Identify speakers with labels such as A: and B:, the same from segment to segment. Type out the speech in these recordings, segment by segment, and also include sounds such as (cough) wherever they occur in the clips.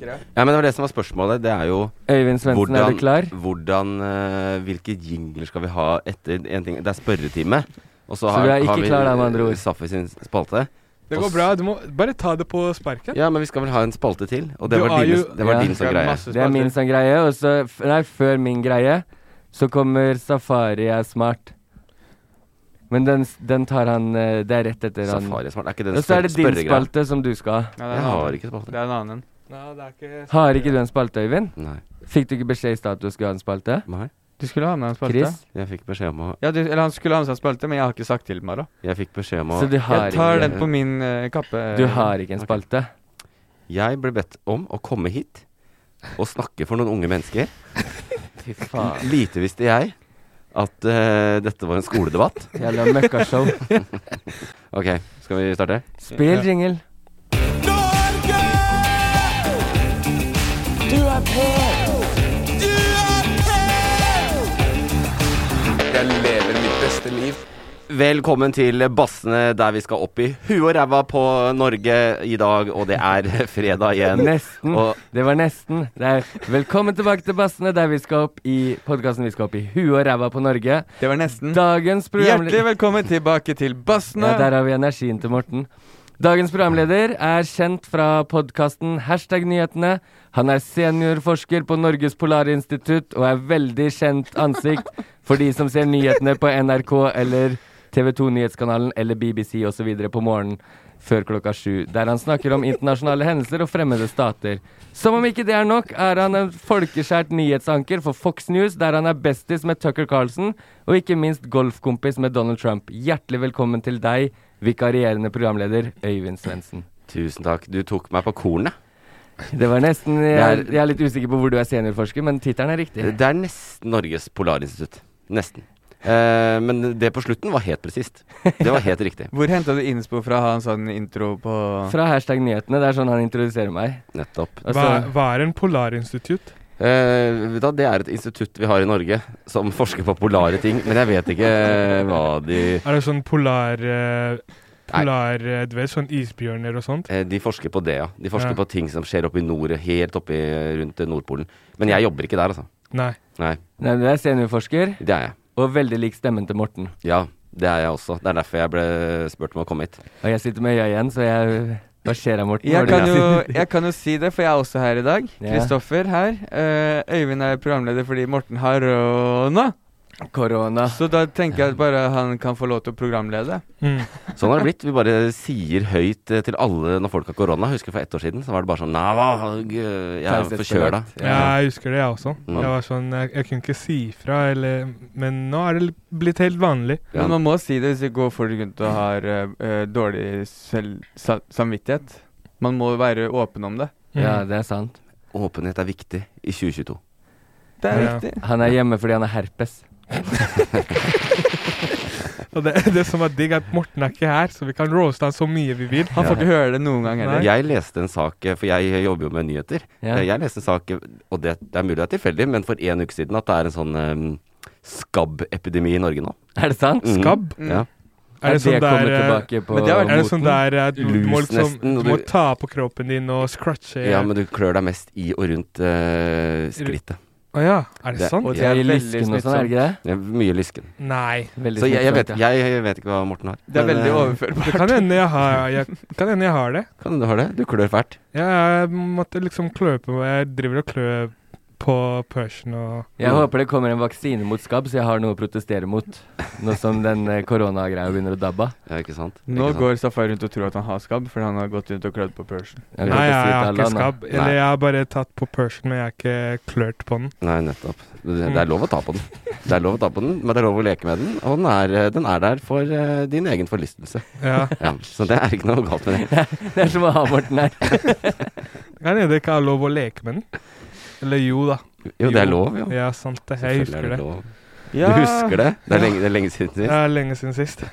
A: Ja, men det var det som var spørsmålet. Det er jo
B: Øyvind Svendsen, er
A: hvordan,
B: du klar?
A: hvordan eh, Hvilke jingler skal vi ha etter en ting, Det er spørretime. Og
B: Så
A: har-
B: du er ikke
A: har vi,
B: klar da, med andre ord?
A: eh, Safi sin spalte.
C: Det går bra. Du må bare ta det på sparket.
A: Ja, men vi skal vel ha en spalte til? Og det
C: Du
A: var
C: har
A: din,
C: jo-
A: det var
B: Ja.
A: din sånn greie.
C: Masse
B: Det er min
C: spalter.
B: sånn greie. Og så, f- nei, før min greie, så kommer Safari er smart. Men den, s- den tar han eh, Det er rett etter han
A: Safari er smart. Er ikke det
B: Og
A: den
B: så er det din
A: spørregreia?
B: spalte som du skal ha.
C: Ja, det er
A: Jeg
C: en annen.
A: har ikke spalte.
C: Det er en annen. Nei, det er ikke
B: Har ikke du en spalte, Øyvind?
A: Nei.
B: Fikk du ikke beskjed i stad at du skulle ha en spalte?
A: Nei.
C: Du skulle ha med en spalte.
B: Chris?
A: Jeg fikk beskjed om å
C: Ja, du, eller han skulle ha med seg en spalte, men jeg har ikke sagt til Mara.
A: Jeg fikk beskjed om å
B: Så du har
C: Jeg tar den
B: ikke
C: på min eh, kappe.
B: Du har ikke en
A: Ok.
B: spalte?
A: Jeg ble bedt om å komme hit og snakke for noen unge mennesker.
B: Fy faen.
A: Lite visste jeg at eh, dette var en skoledebatt.
B: Jævla møkkashow.
A: Ok, skal vi starte?
B: Spill jingle. Velkommen
A: til Bassene, der vi skal opp i huet og ræva på Norge i dag. Og det er (laughs) fredag igjen.
B: Nesten.
A: Og
B: Det var nesten. Det er velkommen tilbake til Bassene, der vi skal opp i podkasten vi skal opp i huet og ræva på Norge.
C: Det var nesten.
B: Dagens
C: Hjertelig
B: programleder
C: velkommen tilbake til Bassene.
B: Ja, der har vi energien til Morten. Dagens programleder er kjent fra podkasten Hashtag nyhetene. Han er seniorforsker på Norges Polarinstitutt og er veldig kjent ansikt for de som ser nyhetene på NRK eller TV 2-nyhetskanalen eller BBC osv. på morgenen før klokka sju, der han snakker om internasjonale hendelser og fremmede stater. Som om ikke det er nok, er han en folkeskjært nyhetsanker for Fox News, der han er bestis med Tucker Carlsen, og ikke minst golfkompis med Donald Trump. Hjertelig velkommen til deg, vikarierende programleder Øyvind Svendsen.
A: tusen takk. Du tok meg på kornet.
B: Det var nesten jeg er,
A: Det er-
B: jeg er litt usikker på hvor du er seniorforsker, men tittelen er riktig.
A: Det er nesten Norges Polarinstitutt. Nesten. Eh, men det på slutten var helt presist. Det var helt riktig.
C: Hvor henta du innspo fra å ha en sånn intro på
B: Fra hashtag nyhetene. Det er sånn han introduserer meg.
A: Nettopp.
B: Og
D: Hva,
B: så-
D: hva er en polarinstitutt?
A: Eh, vet du hva, det er et institutt vi har i Norge som forsker på polare ting, men jeg vet ikke eh, hva de
D: Er det sånn polar... Uh, polar eh, du vet, sånn isbjørner og sånt?
A: Eh, De forsker på det, ja. De forsker
D: Ja.
A: på ting som skjer oppe i nord, helt oppe i- rundt Nordpolen. Men jeg jobber ikke der, altså.
D: Nei.
A: Nei,
B: Nei, du er seniorforsker,
A: det er jeg.
B: og veldig lik stemmen til Morten.
A: Ja, det er jeg også. Det er derfor jeg ble spurt om å komme hit.
B: Og jeg sitter med øya igjen, så jeg Hva skjer da, Morten? Har
C: jeg
B: du-
C: kan, jo, jeg kan jo si det, for jeg er også her i dag.
B: Ja.
C: Kristoffer her. Eh, Øyvind er programleder fordi Morten har råna.
B: Korona.
C: Så da tenker jeg at bare han kan få lov til å programlede.
D: Mm.
A: Sånn har det blitt. Vi bare sier høyt eh, til alle når folk har korona. Jeg Husker for ett år siden, så var det bare sånn Nei, hva, g- jeg er forkjøla.
D: Ja, jeg husker det, jeg også. Jeg var sånn, jeg, jeg kunne ikke si fra, eller, men nå er det li- blitt helt vanlig.
A: Ja.
C: Men man må si det hvis ikke går folk rundt og har eh, eh, dårlig selv, sa, samvittighet. Man må være åpen om det.
D: Mm.
B: Ja, det er sant.
A: Åpenhet er viktig i 2022.
C: Det er
D: Ja.
C: viktig.
B: Han er hjemme fordi han har herpes.
D: Og det, det som er digg, er at Morten er ikke her, så vi kan roaste han så mye vi vil.
C: Han får ikke høre det noen gang heller.
A: Jeg leste en sak, eh, for jeg jobber jo med nyheter.
B: Ja.
A: Eh, Jeg leste en sak, eh, og det, det er mulig det er tilfeldig, men for en uke siden at det er en sånn eh, skabbepidemi i
D: (laughs)
A: Norge nå.
B: Er det sant?
A: Mm.
D: Skabb?
A: Ja.
D: Er det
B: Ja,
D: sånn
B: det kommer
D: der, eh,
B: tilbake på
D: men det er vel- er det sånn
B: moten.
D: der eh, du
A: Lus
D: må, liksom,
A: nesten, og
D: du må
A: du-
D: ta på kroppen din og scratche
A: ja, men du klør deg mest i og rundt eh, skrittet.
D: Å ja, er det
A: Det-
D: sant?
B: Og
C: Det
B: det
C: er
B: er i
C: veldig
B: lysken og sånn, er det ikke det?
A: Det er mye lysken.
D: Nei.
B: Veldig
A: Så jeg, jeg, vet,
B: smittsomt, ja.
A: jeg, jeg vet ikke hva Morten har.
C: Det er
A: Men,
C: veldig
A: eh,
D: Det
C: overførbart.
D: kan hende sånn, jeg har, jeg, kan hende jeg har det.
A: (laughs) Kan hende du har det? Du klør fælt.
D: Jeg måtte liksom klø på meg. Jeg driver og klør på Persian og
B: Jeg håper det kommer en vaksine mot skabb, så jeg har noe å protestere mot. Nå som den eh, koronagreia begynner å dabbe av.
A: Ja, ikke sant? ikke
C: Nå
A: sant?
C: går Safari rundt og tror at han har skabb, fordi han har gått rundt og klødd på Persian.
B: Jeg vil
D: Nei,
B: ikke si
D: jeg, jeg har
B: til alle,
D: ikke
B: da.
D: skabb. Eller
A: Nei.
D: jeg har bare tatt på Persian, men jeg har ikke klørt på den.
A: Nei, nettopp. Det, det er lov å ta på den. Det er lov å ta på den, men det er lov å leke med den. Og den er, eh, den er der for eh, din egen forlystelse.
D: Ja.
A: Ja, så det er ikke noe galt med det.
B: (laughs) Det er som å ha Morten her.
D: (laughs) Det Kan hende det ikke er lov å leke med den. Eller jo, da.
A: Jo, det er lov, jo.
D: Ja, sant det.
A: Selvfølgelig
D: Jeg husker
A: er
D: det.
A: det lov. Du husker det? Det er lenge, det er lenge siden
D: Det
A: sist.
D: er lenge siden sist.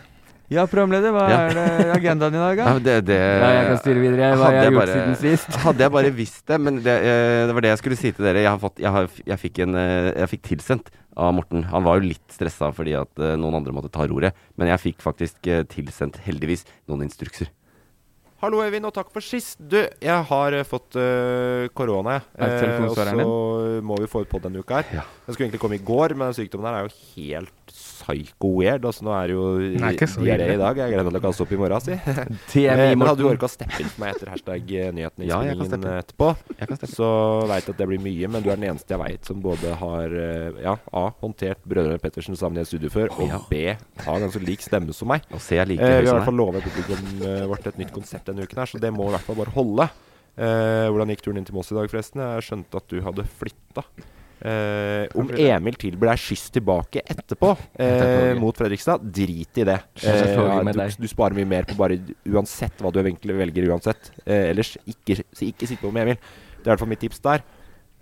C: Ja, programleder, hva
A: Ja.
C: er det agendaen i
A: (laughs)
C: dag,
A: Ja,
C: da?
A: men det, det,
B: Ja, jeg kan styre videre. jeg. Hva
A: Hadde jeg
B: jeg har gjort
A: bare-
B: siden sist.
A: Hadde jeg bare visst det, men det, eh, det var det jeg skulle si til dere. Jeg, har fått, jeg, har, jeg, fikk, en, eh, jeg fikk tilsendt av Morten. Han var jo litt stressa fordi at eh, noen andre måtte ta roret, men jeg fikk faktisk eh, tilsendt, heldigvis, noen instrukser.
E: Hallo, Øyvind, og takk for sist. Du, jeg har eh, fått eh, korona, jeg.
C: Er det telefonsvareren
E: og så må vi få ut podd denne uka her.
A: Ja.
E: Den skulle egentlig komme i går, men den sykdommen her er jo helt psycho-weird. Altså, nå er det jo
D: Den er ikke så
E: diaré i
D: ille.
E: dag. Jeg gleder meg til å kaste opp i morgen, si.
B: TMI,
E: Eh, Men hadde du
B: Morten.
E: orka å steppe inn for meg etter hashtag eh, nyheten i
A: Ja, jeg
E: spillingen
A: kan steppe
E: eh, etterpå,
A: Jeg kan stemme.
E: så veit jeg at det blir mye, men du er den eneste jeg veit som både har eh, ja, A. håndtert brødrene Pettersen sammen i et studio før,
A: Ja.
E: og B. har ganske lik stemme som meg.
A: Og se, jeg
E: Eh,
A: liker
E: vi
A: høy
E: har i
A: som
E: hvert
A: deg.
E: fall lovet publikum eh, vårt et nytt konsept denne uken her, så det må i hvert fall bare holde. Eh, hvordan gikk turen inn til Moss i dag, forresten? Jeg skjønte at du hadde flytta. Eh, om Emil tilbyr deg skyss tilbake etterpå eh,
B: Konge.
E: mot Fredrikstad, drit i det.
B: Jeg tar
E: Eh,
B: toget med
E: du,
B: deg.
E: du sparer mye mer på bare uansett hva du egentlig velger uansett. Eh, ellers, ikke, ikke sitt på med Emil. Det er i hvert fall mitt tips der.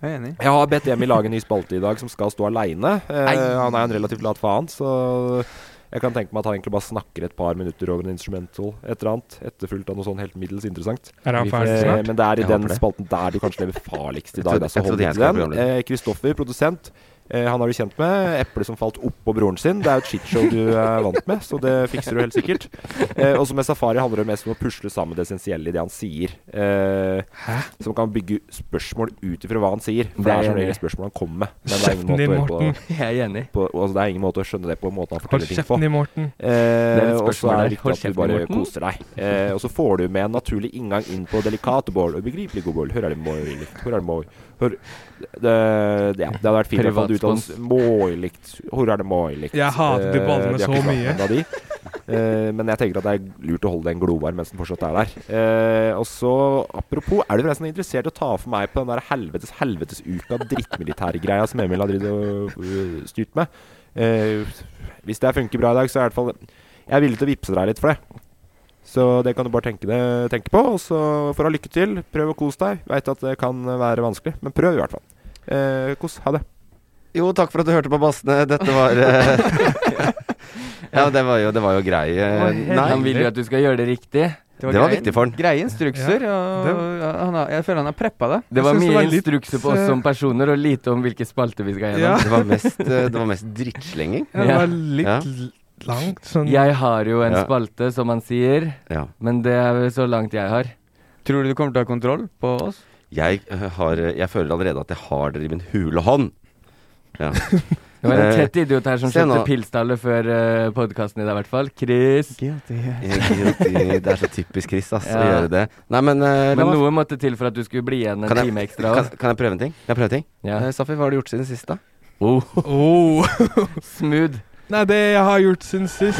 C: Jeg er enig.
E: Jeg har bedt Emil lage en ny spalte i dag som skal stå aleine. han er en relativt lat faen, så jeg kan tenke meg at han egentlig bare snakker et par minutter over en instrumental, et eller annet, etterfulgt av noe sånn helt middels interessant.
D: Er han
B: Vi får
D: ferdig
E: Eh,
D: snart?
E: men det er i
A: Jeg
E: den
A: håper det.
E: spalten der du kanskje lever farligst i
A: Jeg
E: dag.
A: trodde-
E: da, så
A: jeg
E: hold
A: trodde
E: deg
A: jeg skulle
E: til den.
A: programlede.
E: Eh, Kristoffer, produsent. Eh, han er du kjent med. Eplet som falt oppå broren sin. Det er jo et shitshow du er vant med, så det fikser du helt sikkert. Eh, og som med Safari handler det mest om å pusle sammen det essensielle i det han sier. Eh, som kan bygge spørsmål ut ifra hva han sier. For
B: Det
E: det
B: er
E: er som
B: jeg enig i.
E: regel spørsmål han kommer med. Men det er ingen
D: Kjeften
E: måte å
D: din,
E: høre på,
D: Morten.
B: (laughs) Jeg er enig.
E: på altså, Det er ingen måte å skjønne det på måten han
D: Hold
E: forteller ting på.
D: kjeften din, Morten.
B: Det er
E: Eh, og
B: et
E: så
B: spørsmål
E: er
B: der.
E: det
B: Hold
E: viktig at du
B: kjeften,
E: bare
B: Morten.
E: koser deg. Eh, og så får du med en naturlig inngang inn på delikat bål og begripelig god bål. Hører det mål, hører det mål. Hør, det, det, ja, det hadde vært fint om du uttales
B: Privatspons.
E: målikt. Hører det målikt.
D: Jeg hater de
E: Eh,
D: ballene
E: vi har ikke
D: så
B: sånn.
E: snakket
D: mye.
E: om en av de. Eh, men jeg tenker at det er lurt å holde den glovarm mens den fortsatt er der. Eh, og så, apropos, er du forresten interessert i å ta for meg på den der helvetes helvetes uka drittmilitærgreia som Emil har drevet og øh, styrt med? Eh, hvis det funker bra i dag, så er jeg i hvert fall Jeg er villig til å vippse deg litt for det. Så det kan du bare tenke, det, tenke på. Og så får du ha lykke til. Prøv å kose deg. Veit at det kan være vanskelig, men prøv i hvert fall. Eh, kos. Ha det.
A: Jo, takk for at du hørte på bassene. Dette var (laughs) eh, Ja, det var jo, det var jo grei eh,
B: Han
A: Nei,
B: vil jo at du skal gjøre det riktig.
A: Det var
C: greie-
A: viktig for han.
C: Greie instrukser. Og, han har, jeg føler han har preppa det.
B: Det
D: Jeg
B: var
D: synes det
B: mye
D: var litt,
B: instrukser på oss
D: eh,
B: som personer, og lite om hvilke spalter vi skal
D: Ja.
B: gjennom. (laughs)
A: det var mest, eh, det var mest drittslenging.
D: Ja, det
B: Ja.
D: var litt
A: Ja.
D: l- langt. Sånn
B: Jeg har jo en
A: Ja.
B: spalte, som han sier,
A: Ja.
B: men det er vel så langt jeg har.
C: Tror du du kommer til å ha kontroll på oss?
A: Jeg, eh, har, eh, jeg føler allerede at jeg har dere i min hule hånd. Ja.
B: Det var en
A: Eh,
B: tett idiot her som
A: se
B: kjøpte
A: nå.
B: pilsdaler før uh, podkasten i dag, i hvert fall. Chris.
A: Det er så typisk Chris ass, å
B: Ja.
A: gjøre det. Nei, men, eh, la
B: Men
A: meg-
B: noe måtte til for at du skulle bli igjen en
A: Kan jeg-
B: time ekstra.
A: kan,
B: også.
A: kan jeg prøve en ting? Kan Jeg prøve en ting?
B: Ja.
A: Eh, Safi, hva har du gjort siden sist, da?
B: (laughs)
D: oh.
B: Smooth.
D: Nei, det jeg har gjort siden sist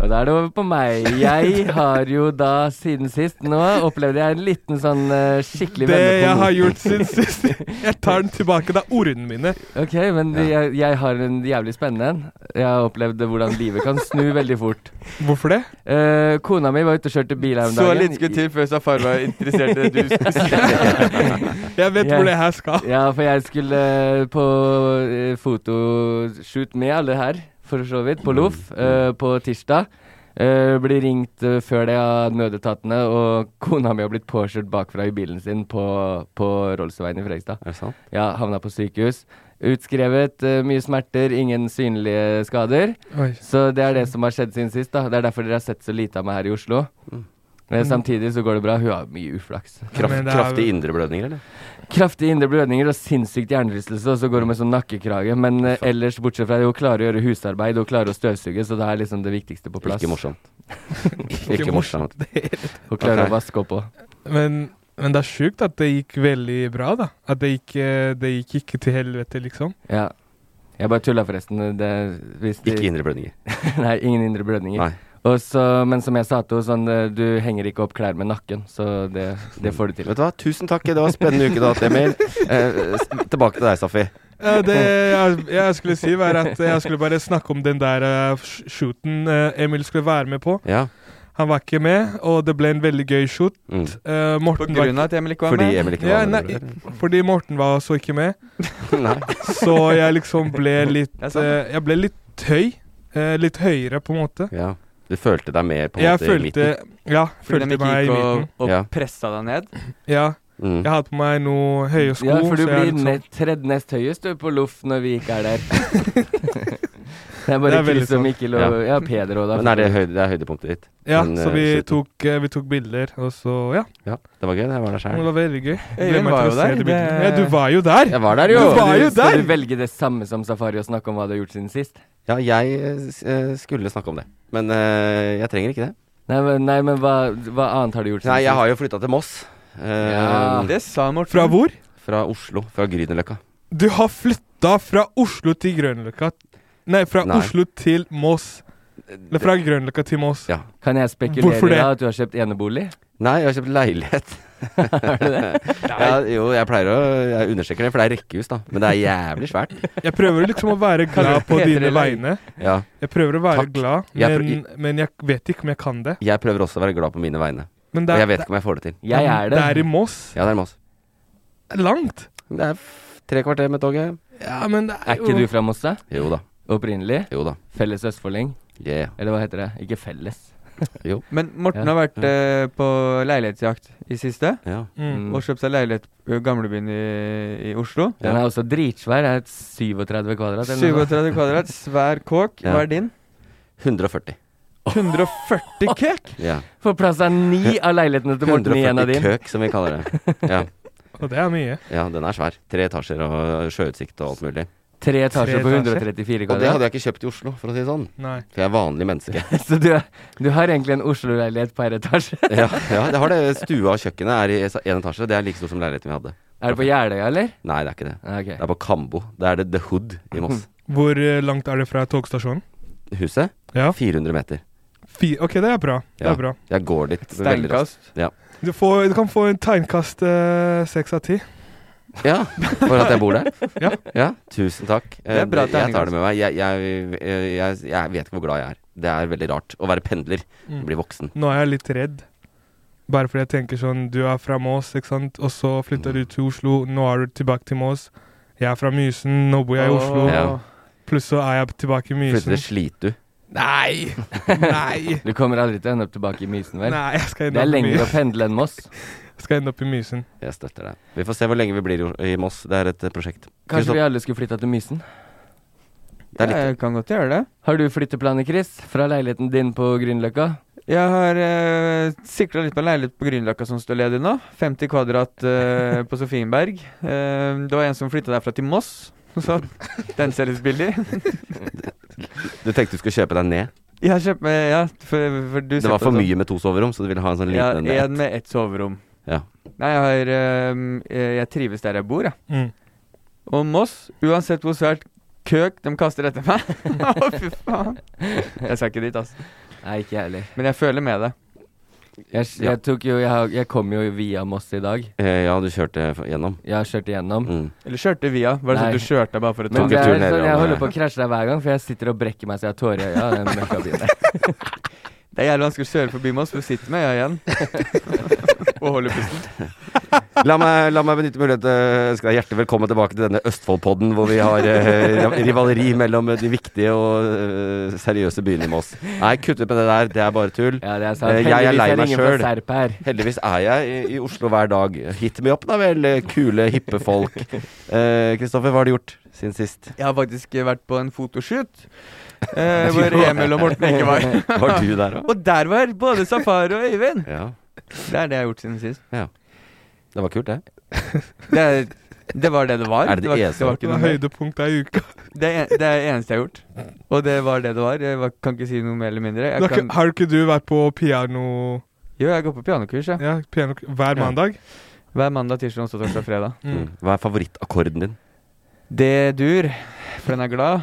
B: Og da er det over på meg. Jeg har jo da siden sist Nå opplevde jeg en liten sånn eh, skikkelig
D: Det
B: vende på
D: jeg har
B: moten.
D: gjort
B: (laughs)
D: siden sist Jeg tar den tilbake. Det er ordene mine.
B: Ok, men
A: Ja.
B: jeg, jeg har en jævlig spennende en. Jeg har opplevd hvordan livet kan snu veldig fort.
D: Hvorfor det?
B: Eh, kona mi var ute og kjørte bil her om
C: Så
B: dagen.
C: litt skulle til før Safari var interessert i det du skulle si.
B: (laughs)
D: Jeg vet
B: Ja.
D: hvor det her skal.
B: Ja, for jeg skulle eh, på eh, fotoshoot med alle her. for så vidt, på Loff eh, på tirsdag. Eh, blir ringt eh, før det av nødetatene, og (laughs) kona mi har blitt påkjørt bakfra i bilen sin på, på Rollsveien i Fredrikstad.
A: Er det sant?
B: Ja, havna på sykehus. Utskrevet, eh, mye smerter, ingen synlige skader.
D: Oi.
B: Så det er det som har skjedd siden sist, da. Det er derfor dere har sett så lite av meg her i Oslo. Men samtidig så går det bra. Hun har mye uflaks.
A: Kraft,
D: Men det er-
A: Kraftige indre blødninger, eller?
B: Kraftige indre blødninger og sinnssykt hjernerystelse, og så går hun med sånn nakkekrage. Men eh, ellers, bortsett fra det, hun klarer å gjøre husarbeid, hun klarer å støvsuge, så det er liksom det viktigste på plass.
A: Ikke
B: (laughs)
A: morsomt. Ikke morsomt.
B: Hun klarer
A: Ok.
B: å vaske opp òg.
D: Men, men det er sjukt at det gikk veldig bra, da. At det gikk, eh, det gikk ikke til helvete, liksom.
B: Ja. Jeg bare tulla, forresten. Det, hvis de-
A: Ikke indre blødninger.
B: (laughs) Nei, ingen indre blødninger.
A: Nei.
B: Og så, men som jeg sa til henne, sånn eh, Du henger ikke opp klær med nakken, så det, det får du til.
A: Vet du hva, tusen takk. Det var en spennende uke du har hatt,
D: (laughs)
A: Emil. Eh, s- tilbake til deg, Safi.
D: Ja, det jeg, jeg skulle si, var at jeg skulle bare snakke om den der eh, sh- shooten eh, Emil skulle være med på.
A: Ja.
D: Han var ikke med, og det ble en veldig gøy shoot.
A: Mm.
D: Eh,
C: På
D: Morten var
C: grunn av at Emil ikke var
A: Fordi
C: med?
A: Emil ikke
D: ja,
A: var med.
D: nei, fordi Morten var også ikke med.
A: (laughs) Nei.
D: Så jeg liksom ble litt
C: er sant.
D: eh, Jeg ble litt høy. eh, litt høyere, på en måte.
A: Ja. Du følte deg mer på en
D: Jeg
A: måte i
D: følte
A: midten?
D: Ja,
C: (laughs) Fordi
D: følte
C: de
D: meg
C: ikke
D: i
C: gikk
D: midten.
C: og, og
A: Ja.
C: pressa deg ned?
D: Ja,
A: Mm.
D: jeg hadde på meg noe høye sko.
B: Ja, for du
D: så jeg
B: blir
D: liksom-
B: nett- tredje nest høyest du på loff når vi ikke er der. det er bare
D: Det er veldig sånn.
B: Chris og
D: sant.
B: Mikkel og ja, Peder og da.
A: Men er det, høyde, det er høydepunktet ditt?
D: Ja,
A: Men,
D: så
A: eh,
D: vi
A: slutten.
D: tok, eh, vi tok bilder, og så Ja,
A: Ja, det var gøy. Det jeg var der
D: det
A: sjøl.
D: var veldig gøy.
C: Øyvind
D: Gleder meg
C: var
D: til
C: jo
D: å se
C: der,
D: de
C: det-
D: bildene. Ja, du var jo der!
A: Jeg var der, jo!
D: Du var jo
B: Skal du
D: der!
B: velge det samme som Safari og snakke om hva du har gjort siden sist?
A: Ja, jeg eh, s- eh, skulle snakke om det. Men eh, jeg trenger ikke det.
B: Nei, men, nei, men hva, hva annet har du gjort siden
A: Nei, jeg
B: sist?
A: har jo flytta til Moss. Eh,
B: Ja.
C: Det sa Morten.
D: Fra hvor?
A: Fra Oslo. Fra Grünerløkka.
D: Du har flytta fra Oslo til Grønløkka. Nei, fra
A: Nei.
D: Oslo til Moss. Eller fra Grønløkka til Moss.
A: Ja.
B: Kan jeg spekulere i
D: Hvorfor det?
B: da at du har kjøpt enebolig?
A: Nei, jeg har kjøpt leilighet. (laughs) ja, jo, jeg pleier å Jeg understreker det, for det er rekkehus, da. Men det er jævlig svært.
D: (laughs) Jeg prøver liksom å være glad på
C: Heter det
D: dine
C: leie?
D: vegne.
A: Ja.
D: Jeg prøver å være
A: Takk.
D: glad,
A: Jeg
D: men, men jeg vet ikke om jeg kan det.
A: Jeg prøver også å være glad på mine vegne.
D: Men
A: Og
D: det er,
A: jeg vet ikke om jeg får det til.
B: Jeg er det.
D: det er i Moss.
A: Ja, det er Moss.
D: Langt.
A: Det er f- tre kvarter med toget.
D: Ja, men det
B: Er
D: er
B: ikke du
D: jo
B: fra Mosse?
A: Jo da.
B: Opprinnelig?
A: Jo da.
B: Felles Østfolding?
A: Yeah.
B: Eller hva heter det? Ikke felles.
C: Men Morten
B: Ja.
C: har vært eh, på leilighetsjakt i siste.
A: Ja.
D: mm.
C: Og kjøpt seg leilighet på Gamlebyen i, i Oslo.
B: Den er også dritsvær. Er et 37 kvadrat. eller noe sånt.
C: 37 kvadrat, svær kåk.
A: Ja.
C: Hva er din?
A: 140.
C: 140 kek?
A: Ja.
B: (laughs) Får plass av ni av leilighetene til Morten i en av
A: 140
B: din.
A: køk, som vi kaller det.
B: (laughs)
A: Ja.
D: Og det er mye.
A: ja, den er svær. Tre etasjer og sjøutsikt og alt mulig.
B: Tre etasjer
D: Tre
B: på
D: etasjer.
B: 134
A: Og det
B: kvadrat.
A: hadde jeg ikke kjøpt i Oslo, for å si det sånn.
D: Nei.
A: For jeg er vanlig menneske.
B: (laughs) Så du, du har egentlig en Oslo-leilighet per
A: (laughs)
B: etasje.
A: Ja, ja det har det. Stua og kjøkkenet er i én etasje. Det er like stor som leiligheten vi hadde.
B: Er det på Jeløya, eller?
A: Nei, det er ikke det.
B: Ah, Ok.
A: Det er på Kambo. Det er det The Hood i Moss.
D: Hvor eh, langt er det fra togstasjonen?
A: Huset
D: Ja.
A: 400 meter.
D: Fi ok, det er bra. Det
A: Ja.
D: er bra.
A: Jeg går dit veldig raskt.
C: Steinkast.
D: Du, får, du kan få en tegnkast eh, seks av ti.
A: Ja, for at jeg bor der.
D: Ja.
A: Tusen takk.
C: Det er bra
A: Eh, jeg
C: tegning,
A: tar det med meg. Jeg, jeg, eh, jeg, jeg vet ikke hvor glad jeg er. Det er veldig rart å være pendler,
D: Mm.
A: bli voksen.
D: Nå er jeg litt redd. Bare fordi jeg tenker sånn Du er fra Mås, ikke sant? Og så flytta du til Oslo, nå er du tilbake til Mås. Jeg er fra Mysen, nå bor jeg i Oslo.
A: Ja.
D: Pluss så er jeg tilbake i
A: Flytte
D: Mysen.
A: til Slitu.
D: Nei! Nei!
B: Du kommer aldri til å ende opp tilbake i Mysen, vel?
D: Nei, jeg skal
B: Det er
D: ende opp i
B: lenger å
D: Mysen.
B: pendle enn Moss.
D: (laughs) Jeg skal ende opp i Mysen.
A: Jeg støtter deg. Vi får se hvor lenge vi blir i- i Moss. Det er et eh, prosjekt.
B: Kanskje
A: Kristoff-
B: vi alle skulle flytta til Mysen?
A: Det er
C: Ja,
A: litt
C: jeg kan godt gjøre det.
B: Har du flytteplaner, Chris? Fra leiligheten din på Grünerløkka?
C: Jeg har uh, sikra litt på en leilighet på Grünerløkka som står ledig nå. 50 kvadrat eh, på Sofienberg. Eh, det var en som flytta derfra til Moss. (laughs) Så den ser litt billig.
A: Du tenkte du skulle kjøpe deg ned.
C: Jeg kjøpte meg, ja, for, for du sånn.
A: Det var for mye med to soverom, så du ville ha en sånn
C: Ja,
A: liten en.
C: en
A: med ett.
C: med ett soverom.
A: Ja.
C: Nei, jeg har eh, eh, Jeg trives der jeg bor, jeg.
D: Mm.
C: Og Moss, uansett hvor svært køk de kaster etter
B: (laughs)
C: meg Å, fy faen. Jeg skal ikke dit, altså.
B: Nei, ikke jeg heller.
C: Men jeg føler med det.
B: Jeg, jeg, tok jo, jeg, har- jeg kom jo via Moss i dag.
A: Eh, Ja, du kjørte f- gjennom.
B: Jeg har kjørt igjennom.
A: Mm.
C: Eller kjørte via. Var det
B: Nei.
C: sånn at du kjørte bare for å ta
B: Men
A: Tok
B: det
A: en
B: er
A: tur ned i
B: sånn, jeg
A: vannet.
B: holder på å krasje der hver gang, for jeg sitter og brekker meg så jeg har tårer i øya. av den møkkabilen
C: (laughs)
B: der. (laughs)
C: Det er jævlig vanskelig å kjøre forbi Moss, for du sitter med øya igjen. og holder pusten.
A: La meg, la meg benytte muligheten til å ønske deg hjertelig velkommen tilbake til denne Østfoldpodden, hvor vi har eh, rivaleri mellom de viktige og eh, seriøse byene i Moss. Nei, kutt ut med det der. Det er bare tull.
B: Ja, det er sant.
A: Eh, jeg er
B: Heldigvis
A: lei meg
B: ingen fra
A: selv.
B: Serp her.
A: Heldigvis er jeg i, i Oslo hver dag. Hit me up, da vel, kule, hippe folk. Eh, Kristoffer, hva har du gjort siden sist?
C: Jeg har faktisk eh, vært på en fotoshoot
B: (laughs)
C: eh, hvor Emil og Morten ikke var.
A: Var du der òg?
C: Og der var både Safari og Øyvind!
A: Ja.
C: Det er det jeg har gjort siden sist.
A: Det var kult, det.
C: Det, er- det var det det var.
A: Er det det
C: var,
A: eneste
C: var ikke
D: Det
C: noe
D: var
C: mer.
D: høydepunktet i uka.
C: Det er en- det er det eneste jeg har gjort. Og det var det det var. Jeg var- kan ikke si noe mer eller mindre.
D: Du
C: Jeg
D: har ikke-
C: kan,
D: Har ikke du vært på piano,
C: jo, jeg går på pianokurs, jeg.
D: ja, piano hver
C: Ja.
D: mandag?
C: Hver mandag, tirsdag, onsdag,
B: (laughs)
C: torsdag, fredag.
A: Mm. Hva er favorittakkorden din?
C: Det dur, for den er glad.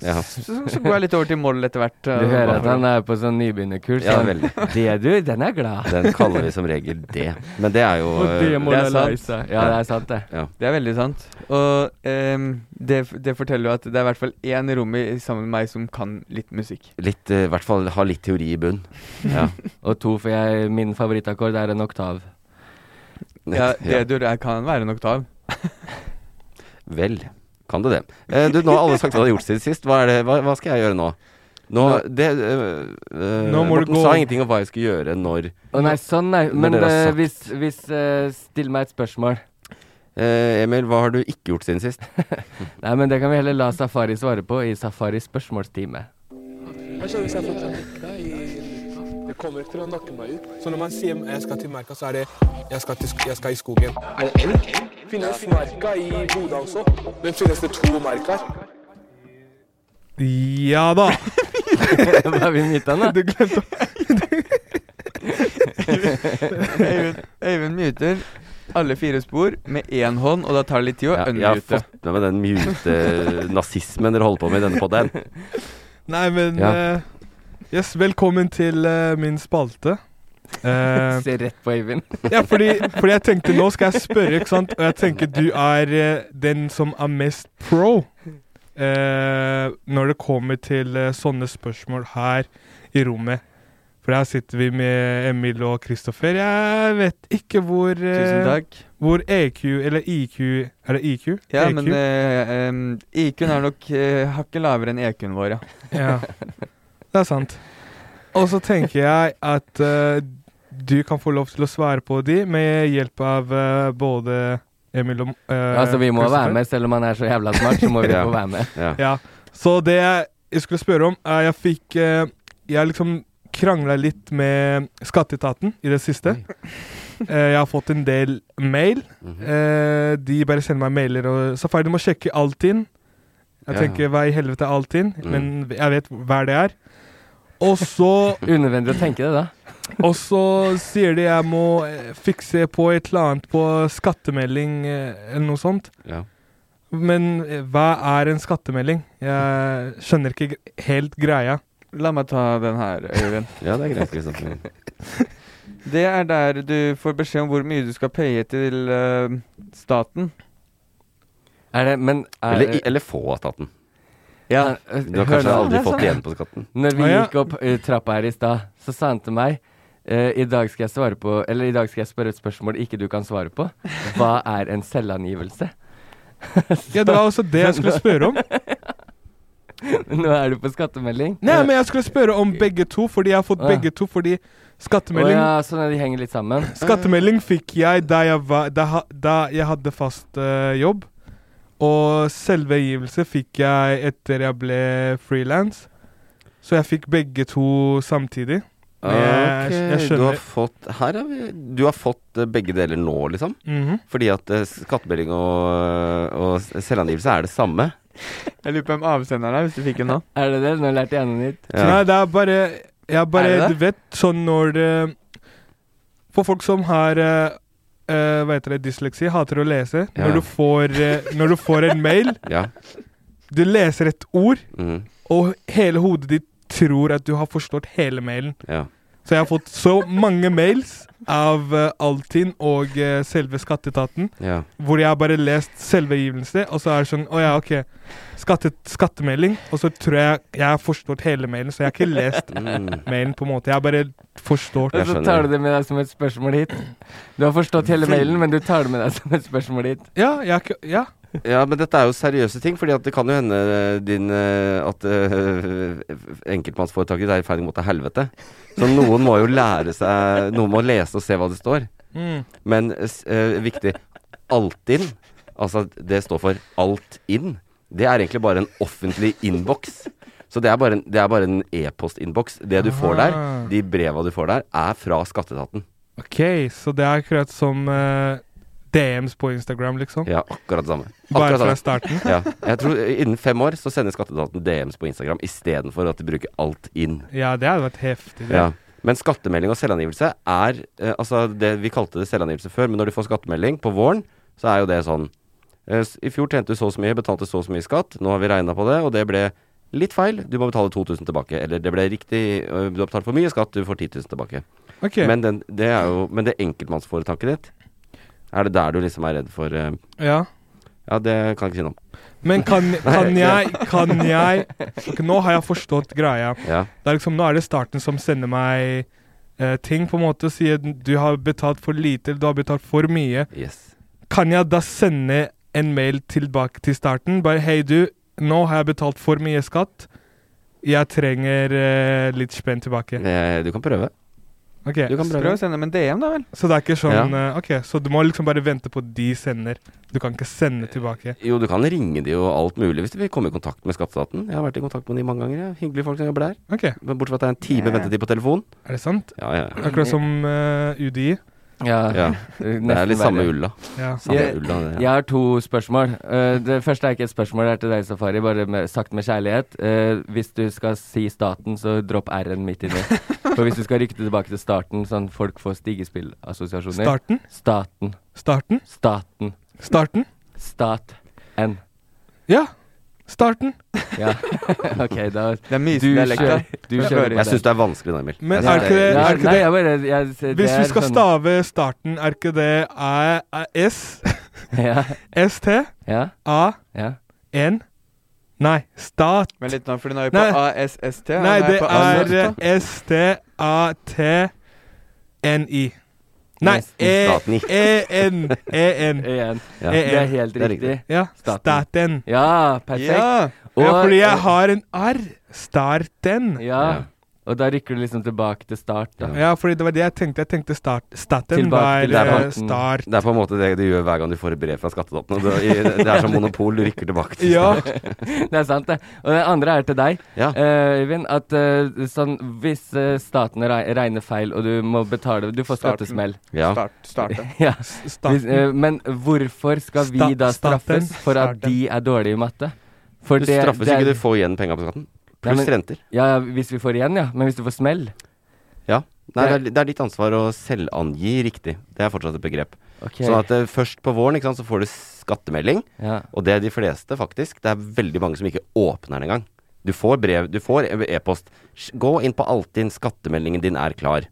A: Ja.
C: Så, så går jeg litt over til moll etter hvert. eh,
B: Du hører at han er på sånn nybegynnerkurs.
A: Ja,
B: han-
A: veldig.
B: det du, den er glad.
A: Den kaller vi som regel det. Men det er jo
B: Og det må
A: eh,
C: er
B: da lei
C: sant.
B: seg. Ja, det er sant, det.
C: Det er veldig sant. Og ehm, det, f- det forteller jo at det er i hvert fall én rom i sammen med meg som kan litt musikk.
A: litt, eh, i hvert fall ha litt teori i bunn. Ja.
B: Og to, for jeg, min favorittakkord er en oktav.
A: (laughs)
C: Ja, D-dur er- kan være en oktav.
A: Vel, kan du det. Eh, du, nå har alle sagt hva de har gjort siden sist. Hva, er det, hva, hva skal jeg gjøre nå? Nå, det, eh, eh,
D: Nå må du
A: Morten
D: gå.
A: sa ingenting om hva jeg skulle gjøre når
B: Å nei, sånn nei.
A: Men
B: Men
A: dere har
B: eh,
A: sagt-
B: hvis, hvis eh, Still meg et spørsmål.
A: Eh, Emil, hva har du ikke gjort siden sist?
B: Nei, men det kan vi heller la Safari svare på i Safaris
A: (laughs)
B: spørsmålstime.
D: Det kommer til å nakke meg ut. Så når man sier jeg skal til merka, så er det jeg skal, i skogen. Er det elg? Finnes merka i Bodø også? Men finnes det to merker? Ja da!
B: Hva er vi myta nå?
D: Du glemte
C: Øyvind, Øyvind muter alle fire spor med én hånd, og da tar det litt tid å
A: Ja, jeg har
C: unmute.
A: fått med meg den mute-nazismen dere holder på med i denne podden.
D: Nei, men
A: Ja.
D: eh, Yes, velkommen til eh, min spalte. Eh,
B: (laughs) Se rett på Øyvind.
D: ja, fordi, fordi jeg tenkte nå skal jeg spørre, ikke sant? Og jeg tenker du er eh, den som er mest pro eh, når det kommer til eh, sånne spørsmål her i rommet. For her sitter vi med Emil og Kristoffer. Jeg vet ikke hvor eh,
C: Tusen takk.
D: Hvor EQ eller IQ Er det E IQ?
C: Ja,
D: EQ?
C: men eh, em, IQ-en er nok eh, hakket lavere enn EQ-en vår, ja.
D: Ja. Det er sant. Og så tenker jeg at eh, du kan få lov til å svare på de med hjelp av eh, både Emil og eh,
B: Altså, vi må
D: Christopher.
B: være med, selv om han er så jævla smart, så må
C: (laughs)
B: vi
A: Ja.
B: få være med.
A: Ja.
D: Ja. Så det jeg jeg skulle spørre om, er jeg fikk eh, Jeg liksom krangla litt med Skatteetaten i det siste. Eh, jeg har fått en del mail.
A: Mhm.
D: Eh, de bare sender meg mailer og Safari, du må sjekke Altinn. Jeg
A: Ja.
D: tenker hva i helvete er Altinn,
A: Mm.
D: men jeg vet hva det er. Og så,
B: Unødvendig å tenke det, da.
D: og så sier de jeg må eh, fikse på et eller annet på skattemelding eh, eller noe sånt.
A: Ja.
D: Men eh, hva er en skattemelding? Jeg skjønner ikke gre- helt greia.
C: La meg ta den her, Øyvind.
A: ja, det er greit. Kristoffer.
C: Det er der du får beskjed om hvor mye du skal paye til eh, staten.
B: Er det, men er,
A: Eller, i- eller få av staten.
B: ja, eh,
A: Du har
B: hør
A: kanskje
B: nå.
A: aldri fått
C: sånn.
A: igjen på skatten.
B: Når vi
D: Å, ja.
B: gikk opp eh, trappa her i stad, så sa han til meg eh, I dag skal jeg svare på Eller i dag skal jeg spørre et spørsmål ikke du kan svare på. Hva er en selvangivelse? (laughs)
D: Ja, Det var også det jeg skulle spørre om.
B: Nå er du på skattemelding.
D: Nei, men jeg skulle spørre om begge to, fordi jeg har fått
B: Å, ja.
D: begge to fordi
B: Å
D: skattemelding
B: ja, sånn at de henger litt sammen.
D: Skattemelding fikk jeg da jeg, var, da, ha- da jeg hadde fast eh, jobb. Og selvangivelse fikk jeg etter jeg ble frilans. Så jeg fikk begge to samtidig. Men jeg- jeg
A: Ah, Ok,
D: skjønner.
A: du har fått Her har vi Du har fått eh, begge deler nå, liksom?
D: Mhm.
A: Fordi at eh, skattemelding og, og selvangivelse er det samme?
C: Jeg lurer på hvem avsenderen er, hvis du fikk den nå.
B: (laughs) Er det det? Nå lærte jeg noe nytt.
A: Ja.
D: Nei, det er bare Jeg bare
C: Er det det?
D: Du vet, sånn når eh, For folk som har eh, eh, Hva heter det? Dysleksi. Hater å lese.
A: Ja.
D: Når, du får, eh, når du får en mail
A: ja.
D: Du leser et ord,
A: Mhm.
D: og hele hodet ditt tror at du har forstått hele mailen.
A: ja.
D: Så jeg har fått så mange mails av eh, Altinn og eh, selve skatteetaten
A: Ja.
D: hvor jeg har bare lest selvbegivelse, og så er det sånn Å ja, OK. Skattet, skattemelding. Og så tror jeg jeg har forstått hele mailen, så jeg har ikke lest
A: Mm.
D: mailen på en måte. Jeg har bare forstått.
A: Jeg
B: Og så
A: skjønner.
B: tar du det med deg som et spørsmål hit. Du har forstått hele mailen, men du tar det med deg som et spørsmål hit.
D: Ja, jeg har ikke Ja.
A: (laughs) Ja, men dette er jo seriøse ting, Fordi at det kan jo hende eh, din eh, at eh, enkeltmannsforetaket er i ferd med å gå til helvete. Så noen må jo lære seg Noen må lese og se hva det står.
D: Mm.
A: Men s- eh, viktig Altinn, altså det står for alt inn, det er egentlig bare en offentlig innboks. Så det er bare en- det er bare en e-postinnboks. Det du får der,
D: Ah.
A: de breva du får der, er fra skatteetaten.
D: OK, så det er akkurat som eh, DMs på Instagram, liksom.
A: Ja, akkurat det samme.
D: Bare
A: Akkurat
D: fra
A: det samme.
D: starten.
A: Ja. Jeg tror eh, innen fem år så sender skatteetaten DMs på Instagram istedenfor at de bruker alt inn.
D: Ja, det hadde vært heftig. Det.
A: Ja. Men skattemelding og selvangivelse er eh, Altså, det, vi kalte det selvangivelse før, men når du får skattemelding på våren, så er jo det sånn eh, s- I fjor tjente du så og så mye, betalte så og så mye skatt. Nå har vi regna på det, og det ble litt feil. Du må betale 2000 tilbake. Eller det ble riktig, eh, du har betalt for mye skatt, du får 10 000 tilbake.
D: OK.
A: Men, den, det er jo, men det enkeltmannsforetaket ditt, er det der du liksom er redd for eh,
D: Ja.
A: Ja, det kan jeg ikke si noe om.
D: Men kan,
A: (laughs)
D: kan
A: Nei,
D: jeg Kan jeg Nå har jeg forstått greia.
A: Ja.
D: Det er liksom, nå er det starten som sender meg eh, ting, på en måte, og sier du har betalt for lite eller du har betalt for mye.
A: Yes.
D: Kan jeg da sende en mail tilbake til starten? Bare hei, du, nå har jeg betalt for mye skatt. Jeg trenger eh, litt spenn tilbake.
A: Eh, du kan prøve.
D: Ok,
A: Du kan
C: Prøv
A: prøve.
C: å sende dem en DM, da vel.
D: Så det er ikke sånn eh, Ok, så du må liksom bare vente på de sender. Du kan ikke sende tilbake.
A: Jo, du kan ringe de og alt mulig hvis du vil komme i kontakt med skatteetaten. Jeg har vært i kontakt med de mange ganger. jeg. Hyggelige folk som jobber der.
D: Ok, er
A: Men bortsett fra at det er en time
C: Ja.
A: ventetid på telefon.
D: det sant?
A: Ja, ja, ja.
D: Akkurat som eh, UDI.
B: Ja,
A: ja. Det er litt samme ulla.
D: Ja.
A: Samme
B: Jeg-
A: ulla det,
B: Jeg
A: ja.
B: har to spørsmål. Eh, Det første er ikke et spørsmål, det er til deg, Safari. Bare med, sagt med kjærlighet. Eh, Hvis du skal si staten, så dropp R-en midt inni. For hvis du skal rykke det tilbake til starten, sånn folk får stigespillassosiasjoner
D: Starten?
B: Staten.
D: Starten?
B: Staten.
D: Starten?
B: Stat-en.
D: Ja. Starten.
B: Ja. (laughs) OK, da
C: Det er
B: Du
C: mysedelekt, da.
B: kjører. Du kjører på
A: Jeg syns
B: den.
A: det er vanskelig, Emil.
D: Men
A: Jeg synes
D: er ikke det-
B: Ja,
D: er ikke
B: nei,
D: det-
B: jeg bare jeg, det
D: Hvis
B: er
D: vi skal
B: sånn-
D: stave starten, er ikke det æ, æ, S?
B: (laughs)
D: (laughs)
B: Ja.
D: ST?
B: ja,
D: A?
B: ja.
D: N? Nei, stat.
C: Men litt nå, for den er jo på
D: Nei.
C: ASST. og
D: Nei,
C: den
D: det
C: på ASST.
D: er
B: eh,
D: S-T-A-T-N-I. Nei, E,
B: Nesten E.
D: E-N.
A: Staten.
D: E-N.
B: (laughs)
D: E-N.
B: Igjen.
A: Ja.
D: Eh,
B: Det
C: E
B: er helt
A: Det er
B: riktig.
D: E, Ja,
B: Staten.
D: staten.
B: Ja, perfekt.
C: Ja.
B: Og-
D: Ja, fordi jeg har en R. Starten.
B: Ja. Og da rykker du liksom tilbake til start, da.
D: Ja, fordi det var det jeg tenkte. Jeg tenkte start. Staten
B: Tilbake
D: var
B: til
D: eh,
B: starten.
D: start.
A: Det er på en måte det du gjør hver gang du får et brev fra skatteetaten. og Det det er som monopol, du rykker tilbake til
D: Ja.
B: (laughs) Det er sant, det. Og det andre er til deg,
A: Ja.
B: eh, Øyvind. At eh, sånn Hvis eh, staten re- regner feil, og du må betale Du får
C: Starten.
B: skattesmell.
A: ja.
C: Start, starte.
B: (laughs) Ja. Hvis,
D: Staten.
B: eh, men hvorfor skal vi
D: Sta-
B: da straffes
D: staten.
B: for at
D: Starten.
B: de er dårlige i matte? For
A: Du straffes
B: det er-
A: ikke, du får igjen penga på skatten. Pluss
B: Nei, men-
A: renter.
B: Ja, ja, hvis vi får igjen, ja. Men hvis du får smell
A: Ja. Nei, det
B: Ja.
A: er, det er ditt ansvar å selvangi riktig. Det er fortsatt et begrep.
B: Ok.
A: Sånn at eh, først på våren ikke sant, så får du skattemelding.
B: ja.
A: Og det er de fleste, faktisk. Det er veldig mange som ikke åpner den engang. Du får brev, du får e- e-post. Sj- Gå inn på Altinn, skattemeldingen din er klar.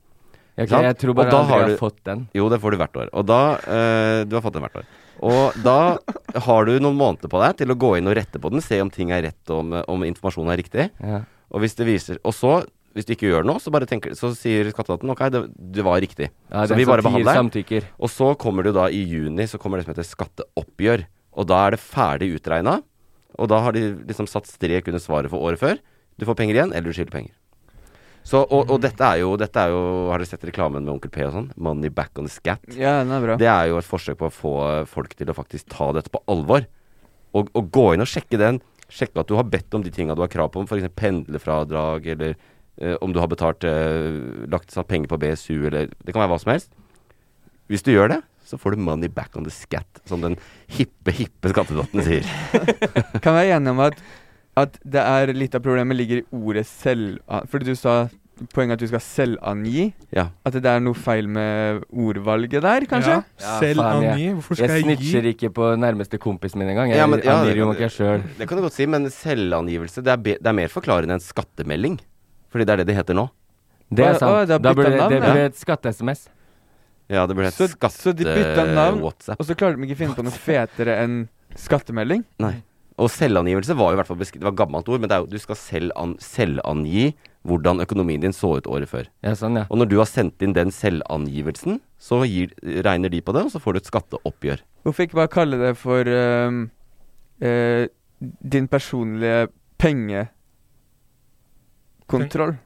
B: Ok,
A: Sant?
B: jeg tror
A: Og
B: bare
A: da
B: aldri
A: har
B: jeg har
A: du-
B: fått den.
A: Jo, det får du hvert år. Og da eh, Du har fått den hvert år. Og da har du noen måneder på deg til å gå inn og rette på den, se om ting er rett, og om, om informasjonen er riktig.
B: Ja.
A: Og hvis det viser Og så, hvis du ikke gjør noe, så, bare tenker, så sier skatteetaten ok, det, det var riktig.
B: Ja,
A: så
B: den
A: vi
B: som
A: bare
B: tier
A: behandler den.
B: Samtykker.
A: Og så kommer du da i juni, så kommer det som heter skatteoppgjør. Og da er det ferdig utregna. Og da har de liksom satt strek under svaret for året før. Du får penger igjen, eller du skylder penger. Så, og, og dette er jo, dette er jo Har dere sett reklamen med Onkel P og sånn? Money back on the scat.
C: Ja, den er bra.
A: Det er jo et forsøk på å få folk til å faktisk ta dette på alvor. Og, og gå inn og sjekke den. Sjekke at du har bedt om de tinga du har krav på, om f.eks. pendlerfradrag, eller eh, om du har betalt eh, lagt satt penger på BSU, eller Det kan være hva som helst. Hvis du gjør det, så får du money back on the scat, som den hippe, hippe skattedotten sier.
C: Kan vi være enige om at, at det er litt av problemet ligger i ordet selv... Fordi du sa poenget at du skal selvangi.
A: Ja.
C: At det er noe feil med ordvalget der, kanskje?
D: Ja. Selv
B: faen, jeg-
D: angi. Hvorfor
B: Jeg
D: skal jeg gi?
B: snitcher ikke på nærmeste kompis min engang. Jeg
A: Ja, men- ja,
B: angir jo
A: det-
B: ikke jeg sjøl.
A: Det kan du godt si, men selvangivelse det er, be, det er mer forklarende enn skattemelding. Fordi det er det det heter nå.
B: Det er
C: Å,
B: sant.
C: å, det har
B: da burde
C: byttet navn,
B: det
C: ja.
B: blir et skatte-SMS.
A: Ja, det ble et eh,
C: Så- så de bytta navn?
A: skatte-WhatsApp.
C: Og så klarer de ikke å finne på noe fetere enn skattemelding.
A: Nei. Og selvangivelse var jo i hvert fall beskri- Det var et gammelt ord, men det er jo, du skal selv an, selvangi hvordan økonomien din så ut året før.
B: Ja, sånn, ja.
A: Og når du har sendt inn den selvangivelsen, så gir, regner de på det, og så får du et skatteoppgjør.
C: Hvorfor ikke bare kalle det for ehm, eh, din personlige pengekontroll?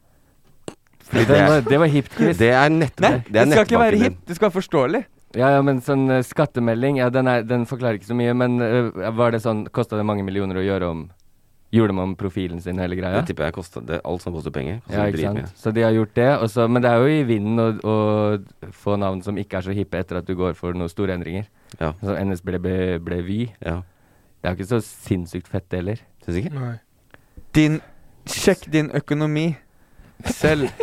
A: Fordi
B: Det
A: det,
B: var,
A: er,
B: det var hipt, Chris.
A: det er nett...
C: Nei,
A: det
C: det,
A: er
C: skal ikke
A: nettbanken
C: være
A: din.
C: hipt, det skal være forståelig.
B: Ja, ja, men sånn eh, skattemelding, ja, den, er, den forklarer ikke så mye, men eh, var det sånn Kosta det mange millioner å gjøre om Gjorde man om profilen sin, hele greia?
A: Det tipper jeg koster det, Alt som koster penger. koster
B: Ja, ikke
A: dritmye.
B: sant. Så de har gjort det. Og så, men det er jo i vinden å, å få navn som ikke er så hippe etter at du går for noen store endringer.
A: Ja.
B: Så NS ble, ble, ble Vy.
A: Ja.
B: Det er jo ikke så sinnssykt fett det heller.
A: Syns ikke?
D: Nei.
C: Din Sjekk din økonomi selv.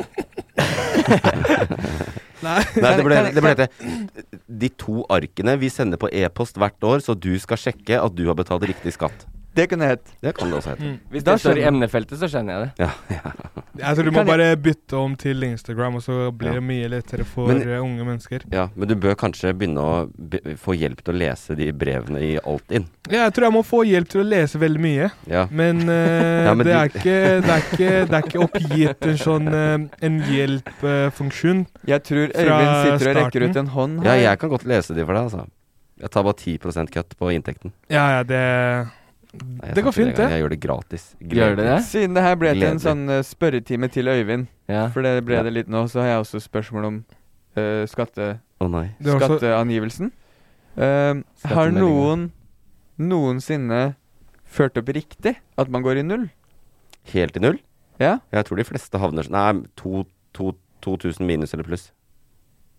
A: Nei, det ble,
C: Kan jeg-
A: det ble hete De to arkene vi sender på e-post hvert år, så du skal sjekke at du har betalt riktig skatt.
C: Det kunne hett. Mm.
A: Det kan det også hete.
B: Hvis
C: Da
B: det står i
C: skjønner-
B: emnefeltet, så skjønner jeg det.
A: Ja, ja.
D: Altså, du må
C: Kan jeg-
D: bare bytte om til Instagram, og så blir
A: Ja.
D: det mye lettere for
A: Men-
D: eh, unge mennesker.
A: ja. Men du bør kanskje begynne å be få hjelp til å lese de brevene i Altinn.
D: Ja, jeg tror jeg må få hjelp til å lese veldig mye,
A: Ja.
C: (laughs)
D: men, eh,
A: Ja, men
D: det, er
A: du-
D: ikke, det, er ikke, det er ikke oppgitt en sånn eh, en hjelpfunksjon.
C: Jeg tror
D: Fra
C: Øyvind sitter og rekker
D: starten.
C: ut en hånd
A: ja,
C: her.
A: jeg kan godt lese de for deg, altså. Jeg tar bare 10 kutt på inntekten.
D: ja, ja, det
A: Nei, jeg tar
D: Det går
A: ikke
D: fint, det.
A: engang. Jeg gjør det gratis.
B: Gjør det det?
C: Siden det her ble til en
A: Gledelig.
C: sånn eh, spørretime til Øyvind,
B: Ja.
C: for det ble
A: Ja.
C: det litt nå, så har jeg også spørsmål om eh, skatte...
A: Å nei.
D: Det er også,
C: skatteangivelsen. Ehm, har
B: Skattemeldingen.
C: noen noensinne ført opp riktig at man går i null?
A: Helt i null?
C: Ja,
A: Jeg tror de fleste havner sånn Nei, to- to- 2000 minus eller pluss.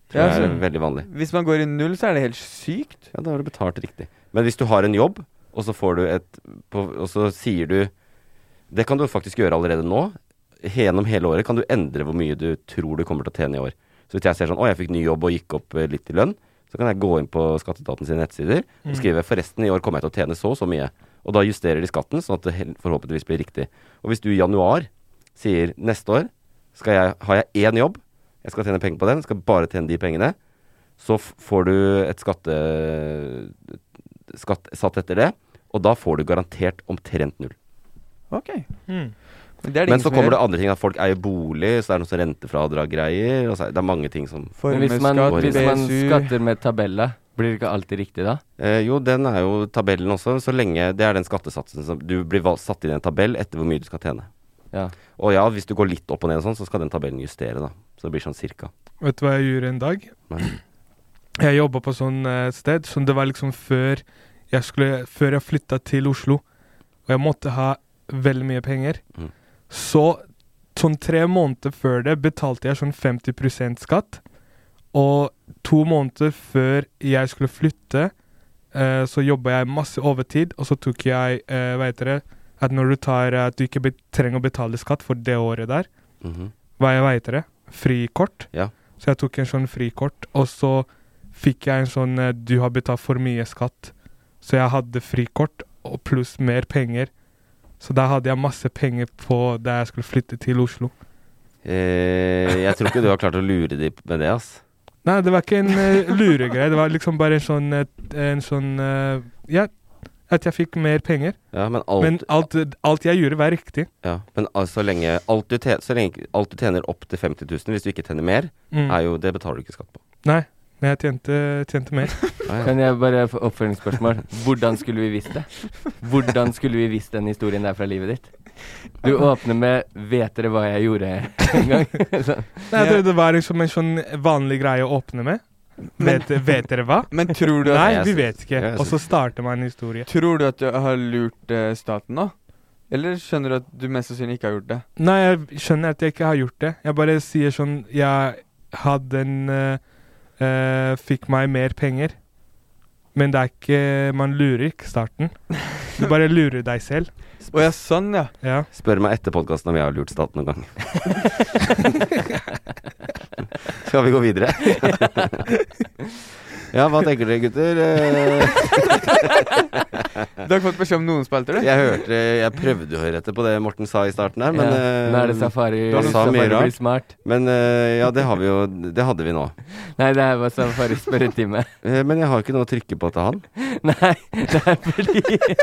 A: Tror
C: ja
A: jeg er
C: altså,
A: veldig vanlig.
C: Hvis man går i null, så er det helt sykt.
A: Ja, da har du betalt riktig. Men hvis du har en jobb, og så får du et på, Og så sier du Det kan du faktisk gjøre allerede nå. Gjennom hele året kan du endre hvor mye du tror du kommer til å tjene i år. Så hvis jeg ser sånn Å, jeg fikk ny jobb og gikk opp eh, litt i lønn. Så kan jeg gå inn på skatteetaten sine nettsider og skrive forresten, i år kommer jeg til å tjene så og så mye. Og da justerer de skatten, sånn at det hel- forhåpentligvis blir riktig. Og hvis du i januar sier neste år skal jeg, har jeg én jobb, jeg skal tjene penger på den, skal bare tjene de pengene, så f får du et skatte, skatt satt etter det, og da får du garantert omtrent null.
C: Ok.
D: Mm.
C: Men, det er det
A: Men så kommer det andre ting, at folk eier bolig, så er det noe sånn rentefradrag-greier, og så er det er mange ting som
B: Men hvis man,
C: Formuesskatt,
B: hvis man
C: BSU.
B: skatter med tabella, blir det ikke alltid riktig da?
A: Eh, jo, den er jo tabellen også, så lenge det er den skattesatsen som Du blir valgt, satt inn i en tabell etter hvor mye du skal tjene.
B: Ja.
A: Og ja, hvis du går litt opp og ned og sånn, så skal den tabellen justere, da. Så det blir sånn cirka.
D: vet du hva jeg gjorde en dag?
A: Nei.
D: Jeg jobba på sånn eh, sted, som det var liksom før jeg, skulle- før jeg flytta til Oslo. Og jeg måtte ha veldig mye penger.
A: Mhm.
D: Så sånn tre måneder før det betalte jeg sånn 50 skatt. Og to måneder før jeg skulle flytte, eh, så jobba jeg masse overtid, og så tok jeg eh, Hva heter det At når du tar eh, At du ikke be trenger å betale skatt for det året der
A: Mhm.
D: hva jeg vet det, frikort.
A: Ja.
D: Så jeg tok en sånn frikort, og så fikk jeg en sånn eh, Du har betalt for mye skatt. Så jeg hadde frikort og pluss mer penger. Så da hadde jeg masse penger på da jeg skulle flytte til Oslo.
A: Eh, jeg tror ikke du har klart å lure de p- med det, ass.
D: Nei, det var ikke en uh, luregreie. Det var liksom bare en sånn, eh, en sånn eh, Ja, at jeg fikk mer penger.
A: Ja, men alt
D: Men alt, alt jeg gjorde, var riktig.
A: Ja, men al- så lenge alt du, tjener, så lenge alt du tjener opp til 50 000, hvis du ikke tjener mer,
D: Mm.
A: er jo det betaler du ikke skatt på.
D: Nei, men jeg tjente, tjente mer.
A: Ja, ja.
B: Kan jeg bare få oppfølgingsspørsmål? Hvordan skulle vi visst det? Hvordan skulle vi visst den historien der fra livet ditt? Du åpner med 'vet dere hva jeg gjorde' en gang. Sånn.
D: Nei, det, det var liksom en sånn vanlig greie å åpne med.
C: Men-
D: Vet, vet dere
C: (laughs)
D: hva?
C: (laughs) Men tror du, at,
D: Nei,
A: jeg
D: vi
A: sy-
D: vet ikke.
A: jeg
D: Og så starter man en historie.
C: tror du at du har lurt eh, staten nå? Eller skjønner du at du mest sannsynlig ikke har gjort det?
D: Nei, jeg skjønner at jeg ikke har gjort det. Jeg bare sier sånn Jeg hadde en eh, eh, Fikk meg mer penger. Men det er ikke Man lurer ikke starten.
C: (laughs)
D: Du bare lurer deg selv.
C: Å ja, sånn ja.
D: Ja.
A: Spør meg etter podkasten om jeg har lurt staten
B: (laughs)
A: noen gang. Skal vi gå videre? Ja, hva tenker dere, gutter? Eh,
C: Du har ikke fått beskjed om noen spalter, du?
A: Jeg hørte Jeg prøvde å høre etter på det Morten sa i starten her, men
B: ja.
A: eh,
B: Nå er det safari.
A: du sa
B: safari
A: mye
B: blir
A: rart.
B: smart.
A: Men eh, ja, det har vi jo Det hadde vi nå.
B: Nei, det her var safari spørretime.
A: Eh, Men jeg har ikke noe å trykke på til han.
B: (laughs) Nei, det er fordi (laughs)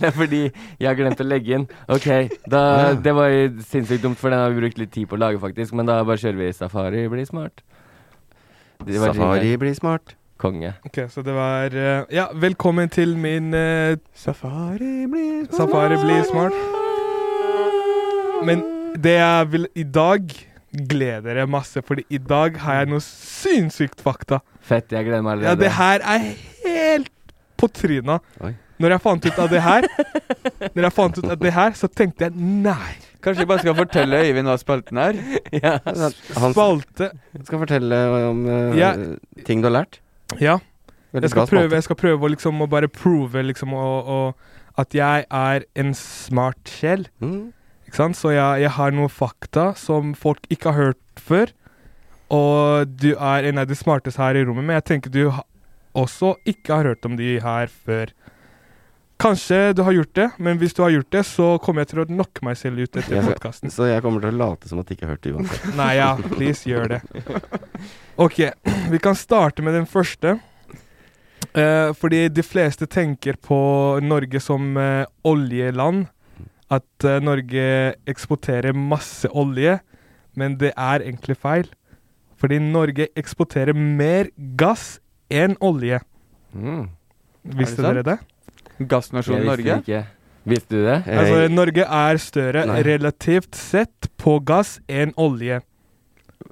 B: Det er fordi jeg har glemt å legge inn. Ok, da, det var jo sinnssykt dumt, for den har vi brukt litt tid på å lage, faktisk. Men da bare kjører vi safari, bli smart. Det var
A: Safari
B: jinglen.
A: blir smart.
B: Konge.
D: Ok, så det var eh, Ja, velkommen til min eh,
C: Safari blir
D: Safari blir smart. Men det jeg vil i dag Gleder dere masse, Fordi i dag har jeg noe sinnssykt fakta.
B: Fett, jeg gleder meg
D: Ja,
B: allerede.
D: det her er helt på tryna.
A: Oi.
D: Når jeg fant ut av det her, Når jeg fant ut av det her, så tenkte jeg nei.
C: Kanskje vi bare skal fortelle Øyvind hva spalten
A: (laughs)
C: er?
B: Ja.
A: Han
D: Spalte
A: skal fortelle om eh,
D: Ja.
A: ting du har lært.
D: Ja.
A: Veldig bra
D: Jeg skal
A: spalte.
D: prøve, jeg skal prøve å liksom, å bare prove liksom, å, å, at jeg er en smart sjel.
A: Mm.
D: Ikke sant? Så jeg, jeg har noen fakta som folk ikke har hørt før. Og du er en av de smarteste her i rommet, men jeg tenker du ha, også ikke har hørt om de her før. Kanskje du har gjort det, men hvis du har gjort det, så kommer jeg til å knocke meg selv ut etter
A: Jeg skal-
D: podkasten.
A: Så jeg kommer til å late som at jeg ikke hørte det uansett.
D: Nei, ja, please, gjør det. Ok, vi kan starte med den første. Eh, fordi de fleste tenker på Norge som eh, oljeland. At eh, Norge eksporterer masse olje. Men det er egentlig feil. Fordi Norge eksporterer mer gass enn olje.
B: Mm.
D: Visste
C: sant?
D: dere det?
B: Jeg
C: Gassnasjonen
B: visste
C: Norge?
B: det ikke. Visste du det?
A: Eh,
D: Altså, Norge er større
A: Nei.
D: relativt sett på gass enn olje.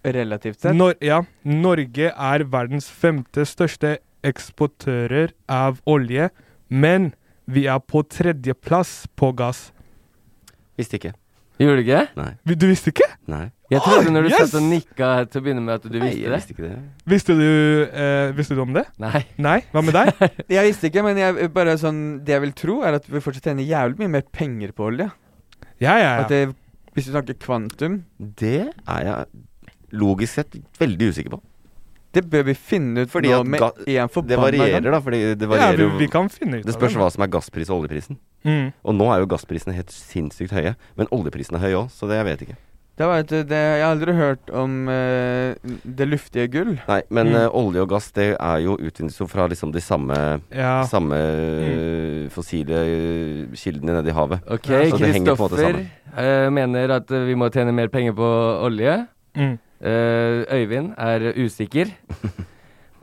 C: Relativt sett.
D: Nor ja, Norge er verdens femte største eksportører av olje, men vi er på tredjeplass på gass.
A: visste ikke.
B: Gjorde du ikke?
A: Nei.
D: Vi- Du visste ikke?
A: Nei.
B: Jeg trodde når du
D: yes!
B: satt og nikka her til å begynne med at du
A: Nei,
B: visste
A: jeg
B: det.
A: visste ikke det.
D: Visste du, eh, visste du om det?
B: Nei.
D: Nei? Hva med
C: (laughs)
D: deg?
C: Jeg visste ikke, men jeg, bare sånn, det jeg vil tro, er at vi fortsatt tjener jævlig mye mer penger på olje.
D: Ja, ja,
C: At
D: ja.
C: det, hvis du snakker kvantum,
A: Det er jeg logisk sett veldig usikker på.
C: det bør vi finne ut
A: Fordi
C: nå
A: at
C: med
A: ga-
C: en
A: Det
C: forbanna
A: varierer,
C: gang.
A: da. Fordi det
D: ja
A: varierer
D: vi,
A: jo
D: vi kan finne ut
A: Det spørs
D: av
A: hva som er gasspris og oljeprisen.
D: det. Mm.
A: Og nå er jo gassprisene helt sinnssykt høye. Men oljeprisen er høy òg, så det jeg vet ikke.
C: Det var et, det, jeg har aldri hørt om eh, det luftige gull.
A: Nei, men
D: Mm.
A: eh, olje og gass det er jo utvinnes jo fra liksom de samme,
D: Ja.
A: samme eh, fossile eh, kildene nede i havet.
B: Mm. Ok,
A: Så Altså, det henger på en måte
B: Kristoffer
A: sammen.
B: eh, mener at eh, vi må tjene mer penger på olje.
D: Mm.
B: Eh, Øyvind er
A: (laughs)
B: usikker.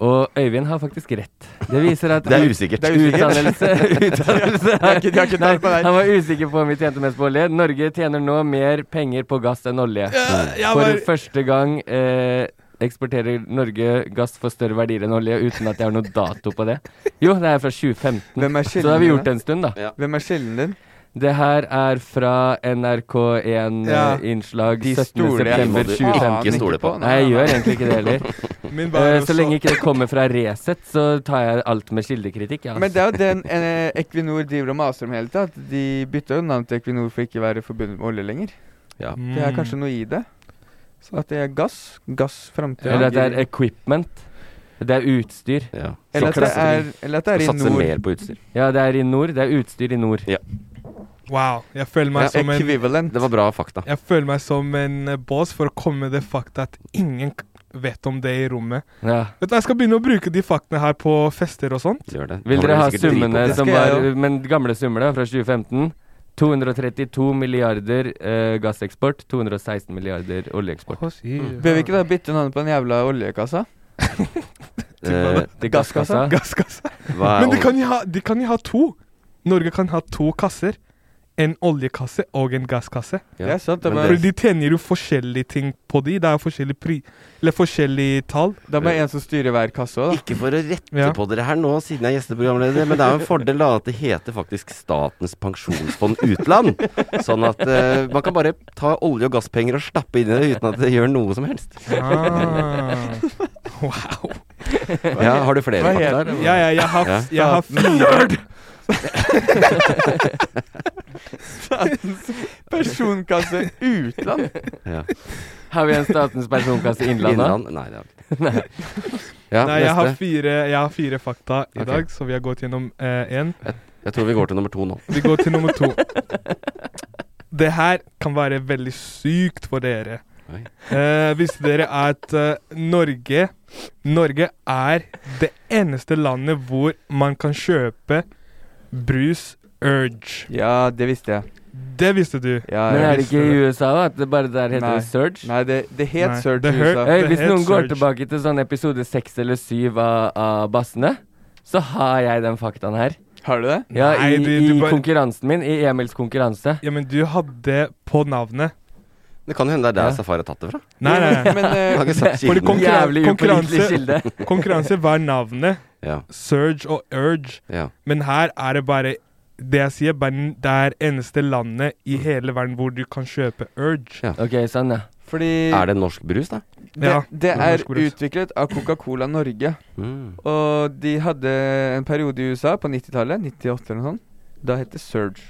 B: Og Øyvind har faktisk rett. Det viser at
A: Det er usikkert.
B: Utdannelse,
C: (laughs)
B: utdannelse
C: har ikke- de har ikke
B: Nei,
C: tall på det her.
B: Han var usikker på om vi tjente mest på olje. Norge tjener nå mer penger på gass enn olje.
D: Eh, jeg
B: For
D: var-
B: første gang eh, eksporterer Norge gass for større verdier enn olje, uten at jeg har noe dato på det. Jo, det er fra 2015.
C: Hvem er
B: Så det har vi gjort
C: kilden?
B: en stund, da.
C: Hvem er kilden din?
B: Det her er fra
D: Ja.
B: NRK1-innslag
C: De
B: 17.
C: stoler jeg
B: september
A: ikke på.
B: 2015.
A: Ikke stole på.
B: Nei, jeg gjør egentlig ikke det
C: (laughs)
B: heller.
D: Min var
B: Eh,
D: jo
B: så lenge ikke det kommer fra Resett, så tar jeg alt med kildekritikk. Ja. altså.
C: Men det er jo den eh, Equinor driver og maser om hele tida. At de bytta jo navn til Equinor for ikke å være forbundet med olje lenger.
D: Mm.
C: Det er kanskje noe i det. Så sånn at det er gass. Gass framtida.
B: Eller at det er equipment. Det er utstyr.
A: Ja. Sånn
C: Eller at det er, eller at det er i
A: Satse
C: nord.
A: mer på utstyr.
B: Ja, det er i nord. Det er utstyr i nord.
D: Wow. Jeg føler meg
C: Ja,
D: som en
C: equivalent.
A: Det var bra fakta.
D: jeg føler meg som en eh, boss for å komme med det fakta at ingen k- vet om det i rommet.
B: Ja.
D: Vet du, Jeg skal begynne å bruke de faktene her på fester og sånn.
A: Gjør det.
B: Vil
A: Kommer
B: dere ha
A: sikkert
B: summene
A: dritgodt.
B: som
C: Skal jeg
B: var eh, Men gamle summer, da, fra 2015? 232 milliarder eh, gasseksport, 216 milliarder oljeeksport.
A: Mm.
C: Bør vi ikke da bytte navn på den jævla oljekassa?
A: Eh,
B: Til
D: (laughs)
C: Gasskassa?
D: Gasskasse.
A: hva er
D: Men de
A: olje-
D: kan, jo ha, de kan jo ha to. Norge kan ha to kasser. En oljekasse og en gasskasse.
A: Ja.
C: Det er sant. Da,
A: Men
C: må-
D: For de tjener jo forskjellige ting på de. Det er jo forskjellige pri... Eller forskjellige tall.
C: da må jeg ha en som styrer hver kasse òg, da.
A: Ikke for å rette
D: Ja.
A: på dere her nå, siden jeg er gjesteprogramleder, men det er jo en fordel da at det heter faktisk Statens pensjonsfond utland. Sånn at eh, man kan bare ta olje- og gasspenger og stappe inn i det uten at det gjør noe som helst.
D: Ah. Wow.
A: Ja, har du flere
C: Hva heter-
A: fakta? eller?
D: Ja, ja, jeg har,
A: Ja.
D: jeg har fire.
C: Personkasse utland.
B: (laughs)
A: Ja.
B: Har vi en Statens pensjonskasse
A: Innland?
B: Innlandet?
A: Nei, det har vi ikke. Ja,
D: Nei, jeg
A: neste.
D: har, fire, jeg har fire fakta i
A: Ok.
D: dag, så vi har gått gjennom én.
A: Jeg tror vi går til nummer to nå.
D: vi går til nummer to.
A: (laughs)
D: Det her kan være veldig sykt for dere.
A: Oi.
D: Eh, visste dere at eh, Norge Norge er det eneste landet hvor man kan kjøpe brus Urge.
C: Ja, det visste jeg.
D: Det visste du.
C: Ja,
B: Men
C: jeg
B: er det
D: visste
B: ikke i
D: det.
B: USA da, at det bare der heter
C: Nei.
B: det Surge?
C: Nei, det, det het
D: Nei,
C: Surge
D: det
C: i
D: hør-
C: USA.
B: Øy,
D: Det
B: hvis
D: het
B: noen går
D: Surge.
B: tilbake til sånn episode seks eller syv av, av Bassene, så har jeg den faktaen her.
C: Har du det?
B: Ja,
D: Nei,
B: i,
D: du-
B: i
D: du bare-
B: konkurransen min, i Emils konkurranse.
D: Ja, men du hadde på navnet.
A: Det kan jo hende det er der
B: Ja.
A: Safari har tatt det fra. sånn
D: Nei, nei.
C: (laughs) Men
A: Jeg
C: eh,
A: har ikke sagt
D: Fordi
A: kilden.
D: konkurran-
B: Jævlig upålitelig
D: konkurranse-
B: kilde.
D: (laughs) Konkurranse var navnet.
A: Ja,
D: Surge og Urge.
A: ja.
D: Men her er det bare Det jeg sier, bare n- det er eneste landet i
C: Mm.
D: hele verden hvor du kan kjøpe Urge.
B: (laughs) Ok, sånn, ja.
C: fordi
A: Er det norsk brus, da?
C: det,
D: Ja,
C: det er
D: norsk brus.
C: utviklet av Coca-Cola Norge.
A: Mm.
C: Og de hadde en periode i USA på 90-tallet, 98 eller noe sånt. Da het det Surge.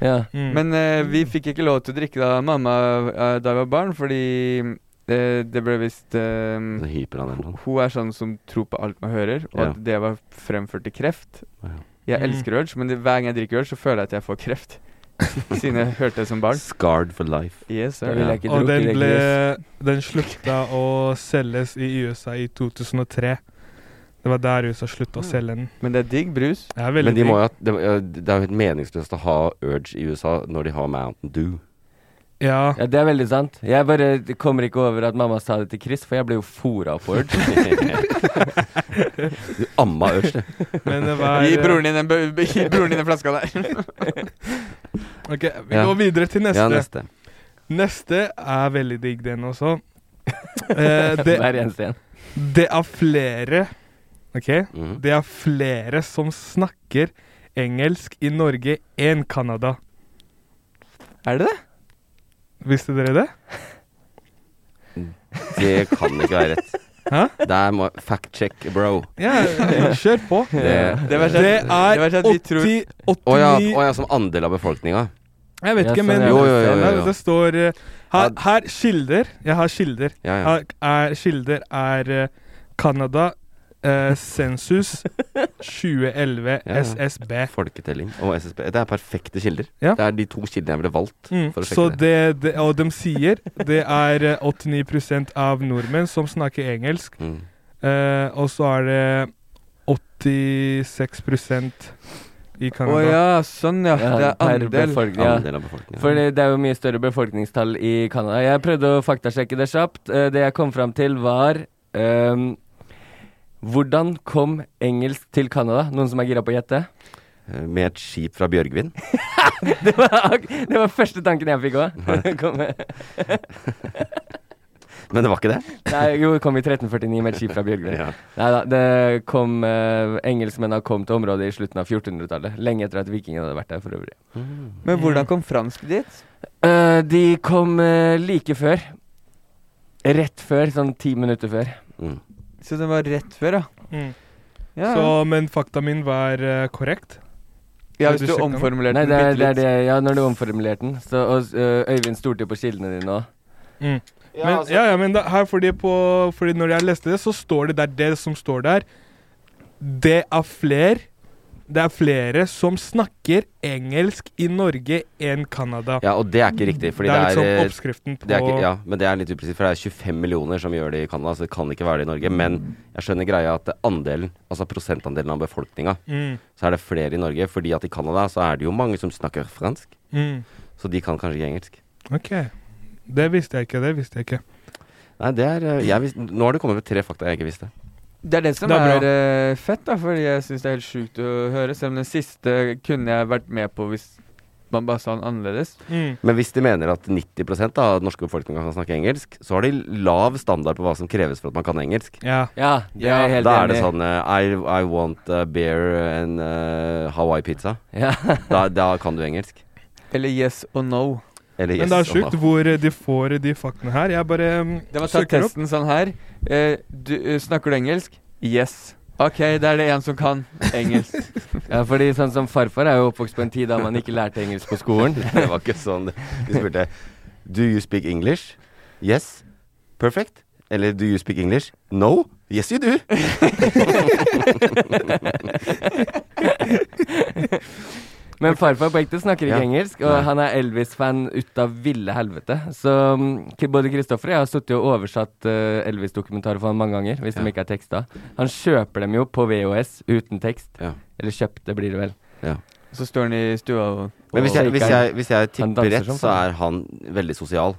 B: ja.
D: Mm.
C: Men eh, vi fikk ikke lov til å drikke da mamma eh, da jeg var barn, fordi eh, det ble visst eh,
B: Mm.
A: Så hyper han eller noe.
C: Hun er sånn som tror på alt man hører, og
A: Ja.
C: at det var fremført til kreft.
A: Ja.
C: Jeg
D: Mm.
C: elsker Urge, men det, hver gang jeg drikker Urge, så føler jeg at jeg får kreft. (laughs) Siden jeg hørte det som barn.
A: Scarred for life.
C: Yes,
B: Da
C: sir.
B: ville jeg ikke
D: og den
B: drukket
D: ble
B: Regulus.
D: Den slutta å selges i USA i 2003. Det var der USA slutta å selge den.
C: Men det er digg brus.
D: Det er
A: Men
D: veldig
A: de må
D: digg.
A: jo, ha- det, det er jo helt meningsløst å ha Urge i USA når de har Mountain Dew.
D: Ja.
B: Ja, det er veldig sant. Jeg bare kommer ikke over at mamma sa det til Chris, for jeg ble jo fora på Urge.
A: du amma Urge, (laughs) du.
D: Men det var
B: eh,
C: Gi broren din den, bø- bø- gi broren din den flaska der.
D: Ok, vi
A: Ja.
D: går videre til neste.
A: Ja, neste.
D: Neste er veldig digg, den også. Eh, det,
B: Hver eneste en.
D: det er flere OK?
A: Mhm.
D: Det er flere som snakker engelsk i Norge enn Canada.
C: (laughs) Er det det?
D: Visste dere det?
A: Det kan ikke være rett.
D: Hæ?
A: Der må Fact check, bro.
D: Ja, kjør på.
A: Det-
C: Det var sånn-
D: Det
C: det var
D: er
C: sånn at vi tror-
D: 80
A: Å ja,
D: 89
A: å ja, som andel av befolkninga.
D: Jeg vet
B: Ja,
D: ikke,
B: sånn,
D: men
B: ja. Jo,
A: jo, jo, jo, jo.
D: Det står eh, her, her kilder Jeg har kilder.
A: Ja,
C: Ah.
A: ja.
D: Her er, kilder er eh, Canada, eh, sensus 2011,
A: Ja, ja.
D: SSB.
A: Folketelling og SSB. Det er perfekte kilder.
D: Ja.
A: Det er de to kildene jeg ville valgt.
D: Mm,
A: For å sjekke
D: så det, det, og de sier det er eh, 89 av nordmenn som snakker engelsk,
A: Mm.
D: eh, og så er det 86 i
C: Å
D: Canada.
C: ja, sånn ja. Det
B: Ja,
C: er
B: per
C: andel.
B: befolkning, ja.
A: Andel av befolkninga.
B: For det det er jo mye større befolkningstall i Canada. Jeg prøvde å faktasjekke det kjapt. Eh, Det jeg kom fram til, var ehm, Hvordan kom engelsk til Canada? Noen som er gira på å gjette? (laughs)
A: Eh, Med et skip fra Bjørgvin.
B: Det var, ak- det var første tanken jeg fikk òg. (laughs) Nei,
A: Men det var ikke det.
B: jo, det kom i 1349 med et skip fra Bjørgvin.
A: Ja.
B: Nei da, det kom eh, Engelskmennene kom til området i slutten av 1400-tallet. Lenge etter at vikingene hadde vært der, for øvrig.
C: Men hvordan kom fransk dit?
B: Eh, de kom eh, like før. Rett før, sånn ti minutter før.
A: Mm.
C: Så den var rett før, ja.
D: Mm.
C: Ja,
D: Så, men fakta min var eh, korrekt.
C: ja hvis
D: du
C: du
D: sjekka den?
C: omformulerte
B: Nei,
C: den
B: det er,
C: bitte
B: det er
C: litt.
B: det, ja, når du omformulerte den. Så, og ø, Øyvind stolte på kildene dine òg.
D: Mm. men, ja, ja, men da, her fordi, på, fordi når jeg leste det, så står det der det som står der. Det er flere Det er flere som snakker engelsk i Norge enn Canada.
A: ja, og det er ikke riktig. Fordi
D: det er
A: eh,
B: sånn
D: liksom oppskriften på
A: det er ikke, ja, men det er litt upresist, for det er 25 millioner som gjør det i Canada, så det kan ikke være det i Norge. Men jeg skjønner greia at andelen, altså prosentandelen av befolkninga,
D: mm,
A: så er det flere i Norge. Fordi at i Canada så er det jo mange som snakker fransk,
D: mm.
A: så de kan kanskje ikke engelsk.
D: OK. Det visste jeg ikke. Det visste jeg ikke.
A: Nei, det er eh, jeg vis, Nå har det kommet med tre fakta jeg ikke visste.
C: Det er det som
D: Det er
C: er, eh, fett, da, fordi jeg syns det er helt sjukt å høre. Selv om den siste kunne jeg vært med på hvis man bare sa den annerledes.
D: Mm.
A: Men hvis de mener at 90 da, av den norske befolkninga kan snakke engelsk, så har de lav standard på hva som kreves for at man kan engelsk.
D: Ja.
B: Ja, det
C: Ja,
B: er jeg helt
A: da er
B: enig
A: det
B: i.
A: sånn eh, I, I want a beer and eh, Hawaii pizza.
B: Ja. (laughs)
A: Da, da kan du engelsk.
C: Eller yes og no.
A: Eller yes.
D: Men det er
A: og
D: sjukt
A: no.
D: hvor eh, de får de faktene her. Jeg bare mm,
C: Det var tatt
D: søker opp.
C: testen sånn her. Eh, du, eh, snakker du engelsk? Yes. OK, da er det en som kan engelsk.
B: (laughs) ja, fordi sånn som farfar er jo oppvokst på en tid da man ikke lærte engelsk på skolen.
A: (laughs) Det var ikke sånn. De spurte Do you speak English? Yes. Perfect. Eller do you speak English? No. Yes, you do.
B: Men farfar på ekte snakker ikke
A: Ja.
B: engelsk, og
A: Nei.
B: han er Elvis-fan ut av ville helvete. Så mm, k- både Kristoffer og jeg har sittet og oversatt eh, Elvis-dokumentarer for han mange ganger, hvis
A: Ja.
B: de ikke er teksta. Han kjøper dem jo på VHS uten tekst.
A: Ja.
B: Eller kjøpte, blir det vel.
C: Så står han i stua og
A: Men hvis jeg, hvis jeg, hvis jeg tipper
B: danser
A: rett,
B: som
A: så
B: faen.
A: er han veldig sosial.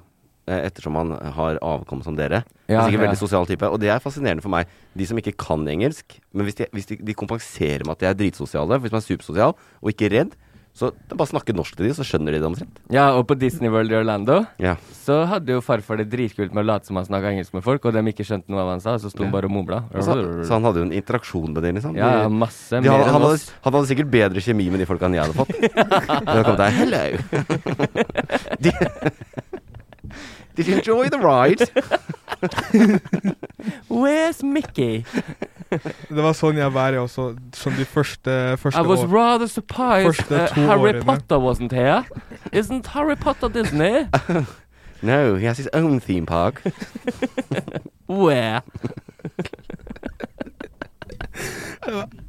A: eh, Ettersom han har avkom som dere.
B: Ja,
A: Ja, sikkert
B: ja.
A: veldig sosial type. Og det er fascinerende for meg. De som ikke kan engelsk, men hvis de, hvis de, de kompenserer med at de er dritsosiale, hvis man er supersosial og ikke redd, så det er bare å snakke norsk til de, så skjønner de det omtrent.
B: Ja, og på Disney World i Orlando
A: Ja.
B: så hadde jo farfar det dritkult med å late som han snakka engelsk med folk, og de ikke skjønte noe av hva han sa, så sto han bare og mumla.
A: Og Så, så han hadde jo en interaksjon med dem, liksom.
B: Ja, ja,
A: de,
B: masse.
A: de, han,
B: mer
A: han,
B: enn
A: hadde,
B: oss.
A: han hadde sikkert bedre kjemi med de folka enn jeg
B: (laughs)
A: hadde fått. Når han kom der, hello. Did, did you enjoy the ride?
B: Where's Mickey?
D: Det var sånn jeg var, jeg også. Som de første,
B: I
D: første
B: was
D: år.
B: rather surprised
D: Første
B: uh,
D: to
B: Harry
D: årene.
B: Potter wasn't here. Isn't Harry Potter Disney?
A: No, he has his own theme park.
B: Where?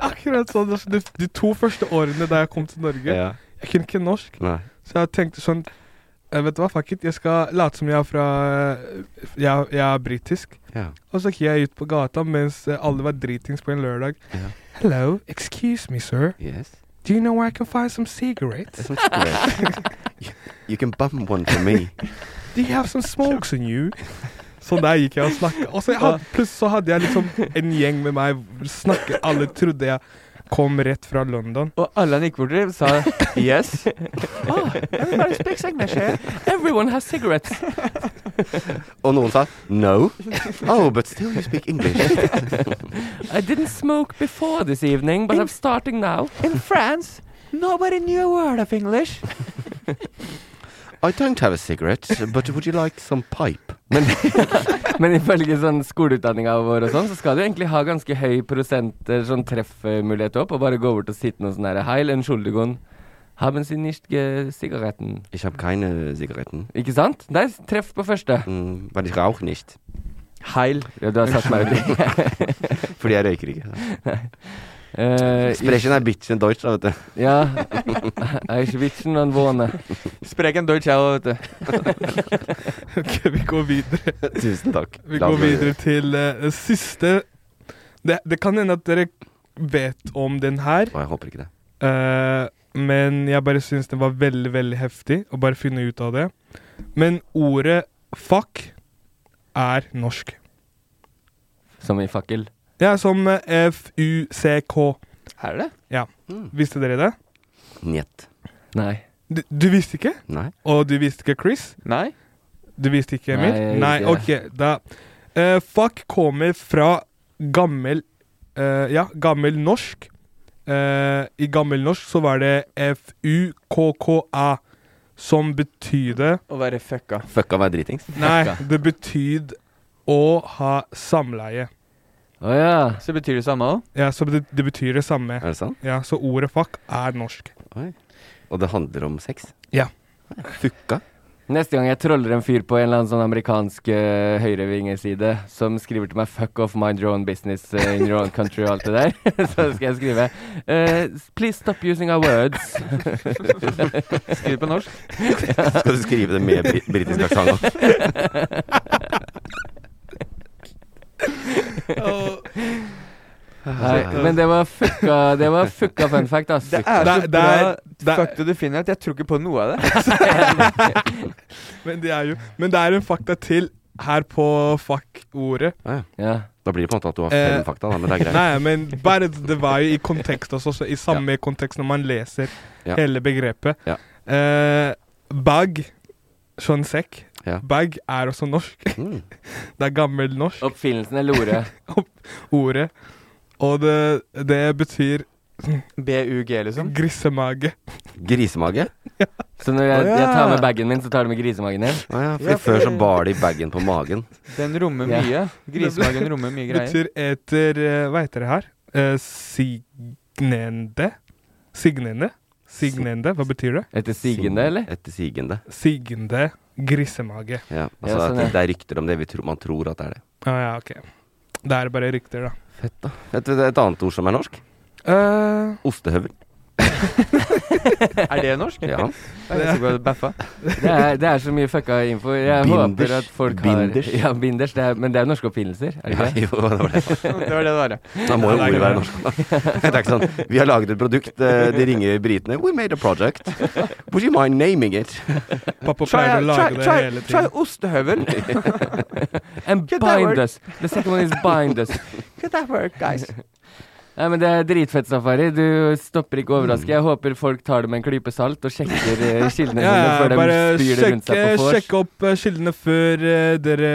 D: Akkurat sånn. altså, De, de to første årene da jeg kom til Norge, jeg kunne ikke norsk.
A: Nei.
D: Så jeg tenkte sånn eh, Vet du hva, fuck it. Jeg skal late som jeg er fra eh, Jeg, jeg er britisk.
A: Ja.
D: Og så gikk jeg ut på gata mens eh, alle var dritings på en lørdag.
A: Ja.
D: Hello, excuse me, sir.
A: Yes.
D: Do you know where I can find some cigarettes?
A: That's not
B: (laughs)
A: great. you, you can bum one for me.
D: Do you have some smokes on you? Så der gikk jeg og snakka. Og så jeg hadde, plutselig så hadde jeg liksom en gjeng med meg. Snakke, alle trodde jeg kom rett fra London.
C: Og alle han gikk bort til, sa
B: (laughs)
C: "Ah, yes.
B: Everyone has cigarettes.
A: Og noen sa no. Oh, but still you speak English.
B: I didn't smoke before this evening, but I'm starting now.
C: In France, nobody knew a word of English.
A: I don't have a cigarette, but would you like some pipe? Men
B: Men ifølge sånn skoleutdanninga vår og sånn, så skal du egentlig ha ganske høy prosent eh, sånn treffmulighet opp, og bare gå bort og sitte noe sånn her Heil Entschuldigung, haben Sie nicht sigaretten?
A: Ich habe keine Zigaretten.
B: Ikke sant? Der, treff på første.
A: Mm, weil ich rauche nicht.
B: Heil. Ja, du har satt meg ut
C: (laughs)
B: i
A: Fordi jeg røyker ikke.
B: Eh,
A: Sprechen er bitch in Deutsch, da, vet du. (laughs)
B: Ja. Eichwitzen und Wohne.
C: Spreken Deutsch,
B: (laughs)
C: jeg òg, vet du.
D: Ok, vi går videre.
A: Tusen takk.
D: Vi
A: La
D: går
A: oss gå
D: videre til eh, det siste. Det, det kan hende at dere vet om den her,
A: Å, jeg håper ikke det.
D: eh, men jeg bare syns den var veldig, veldig heftig å bare finne ut av det. Men ordet fuck er norsk.
B: Som i fakkel.
D: Ja, som eh, F-U-C-K.
C: Er det det?
D: Visste dere det?
A: Njet.
B: Nei.
D: Du, du visste ikke?
A: Nei.
D: Og du visste ikke Chris?
C: Nei?
D: Du visste ikke, Emil?
B: Nei, jeg
D: Nei,
B: visste
D: ok, da Eh, Fuck kommer fra gammel eh, Ja, gammel norsk. Eh, I gammel norsk så var det FUKKA, som betydde
C: Å være fucka.
A: Fucka meg dritings.
D: Nei, det betyd å ha samleie.
B: Å ja.
C: Så betyr det samme òg.
D: Ja, så det, det betyr det samme.
A: Er det sant?
D: Ja, Så ordet fuck er norsk.
A: Oi. Og det handler om sex?
D: Ja.
A: Fucka?
B: Neste gang jeg troller en fyr på en eller annen sånn amerikansk eh, høyrevingeside som skriver til meg 'fuck off, mind your own business eh, in your own country' og alt det der, (laughs) så skal jeg skrive eh, 'please stop using our
D: (laughs)
B: words'.
C: Skriv på norsk.
A: Skal du skrive det med bri- britisk aksent òg?
B: Nei, men det var fucka, det var fucka fun fact, ass.
C: Det er så
D: Det- det
C: bra
D: er- det er-
C: fuck du finner at jeg tror ikke på noe av det.
D: Men det er jo Men det er en fakta til her på fuck-ordet.
B: Ja.
A: Da blir det på en måte at du har
D: Eh,
A: fem fakta, da, men det er greit.
D: Nei, men bare det var jo i kontekst også, så i samme kontekst når man leser
A: Ja.
D: hele begrepet.
A: Ja.
D: Eh, bag, sånn sekk,
A: Ja.
D: bag er også norsk. (laughs)
A: Mm.
D: Det er gammelnorsk,
B: Oppfinnelsen eller ordet?
D: ordet. Og det, det betyr
C: BUG, liksom.
D: grisemage.
A: Grisemage?
B: Så når jeg,
C: Å ja.
B: jeg tar med bagen min, så tar du med grisemagen din?
A: Å ja, for
C: Ja,
A: før
C: for-
A: så bar de bagen på magen.
C: Den rommer
B: Ja.
C: mye. Grisemagen rommer mye
D: Det
C: greier.
D: betyr eter eh, Hva heter det her? Eh, signende? Signende? Signende, hva betyr det?
B: Etter sigende, eller?
A: Etter sigende.
D: Signende grisemage.
A: Ja, altså
B: Ja, sånn,
A: at det,
B: ja.
A: det er rykter om det. Vi tror, man tror at det er det.
D: Å Ah, ja, ok. Det er bare rykter, da.
A: Fett, da. Vet du et annet ord som er norsk?
D: Eh,
A: Ostehøvel.
C: Er det norsk?
A: Ja.
C: Det er så godt baffa.
B: (laughs) Det er, det er så mye fucka info. Jeg
A: Binders.
B: håper at folk har
A: Binders.
B: Ja, binders. Det er, men det er norske oppfinnelser, er det
A: ja
B: ikke det?
A: (laughs) jo, det var det.
C: (laughs) Det var det det var. ja.
A: Da må jo
D: Ja,
A: ordet
D: det er greit.
A: være norsk. da. (laughs) Det er ikke sånn Vi har laget et produkt. eh, De ringer britene. We made a project. Would you mind naming
D: (laughs)
A: it?
D: pappa pleier å lage det hele
C: try
D: tiden.
C: ostehøvel.
A: (laughs)
B: And
C: Get that
B: bind
C: word.
B: us! The second one is bind us.
C: Could that work, guys?
B: Nei, men Det er dritfett safari. Du stopper ikke å overraske. Jeg håper folk tar det med en klype salt og sjekker eh, kildene
D: (laughs) Ja,
B: sine
D: ja,
B: før de
D: bare
B: spyr det rundt
D: sjekke,
B: seg på vors.
D: sjekke opp eh, kildene før eh, dere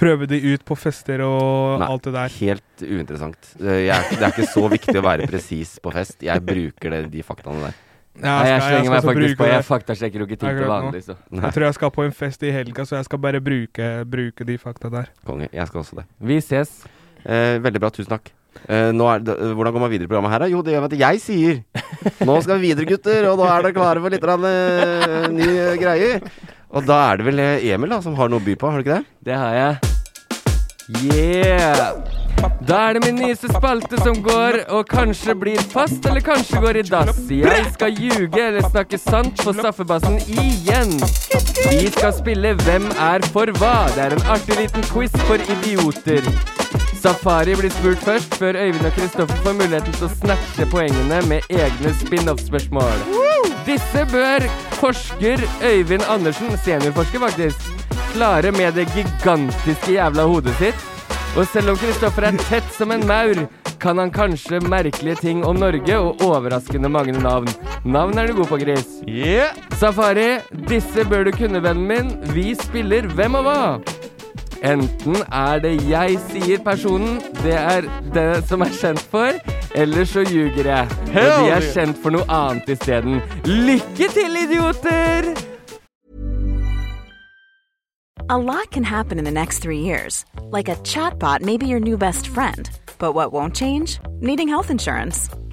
D: prøver de ut på fester og
A: Nei.
D: alt det der.
A: Helt uinteressant. Eh, Jeg, er- det er ikke så viktig å være presis på fest. Jeg bruker det, de faktaene der.
D: Ja,
B: Nei, jeg
D: skal-
B: slenger meg
D: skal
B: faktisk
D: bruke
B: på. Jeg
D: det.
B: faktasjekker jo ikke ting til
D: Akkurat nå.
B: vanlig, så.
A: Nei,
D: Jeg tror jeg skal på en fest i helga, så jeg skal bare bruke, bruke de fakta der.
A: konge. Jeg skal også det.
B: Vi ses.
A: Eh, veldig bra. Tusen takk. Eh, nå er det, hvordan går man videre i programmet her, da? Jo, det gjør man at jeg sier Nå skal vi videre, gutter, og da er dere klare for litt grann, eh, nye greier. Og da er det vel eh, Emil da som har noe å by på, har du ikke det?
B: Det har jeg. Yeah! Da er det min nyeste spalte som går, og kanskje blir fast, eller kanskje går i dass. Jeg skal ljuge eller snakke sant på straffebassen igjen. Vi skal spille Hvem er for hva? Det er en artig liten quiz for idioter. Safari blir spurt først, før Øyvind og Kristoffer får muligheten til å snatche poengene med egne spin-off-spørsmål. Disse bør forsker Øyvind Andersen, seniorforsker faktisk, klare med det gigantiske jævla hodet sitt. Og selv om Kristoffer er tett som en maur, kan han kanskje merkelige ting om Norge og overraskende mange navn. Navn er du god på, Gris.
C: Yeah!
B: Safari, disse bør du kunne, vennen min. Vi spiller Hvem og hva? Enten er det jeg sier personen, det er det som er kjent for, eller så ljuger jeg. Og de er kjent for noe annet isteden. Lykke til, idioter!
F: A lot can happen in the next three years. Like a chatbot may be your new best friend. But what won't change? Needing health insurance.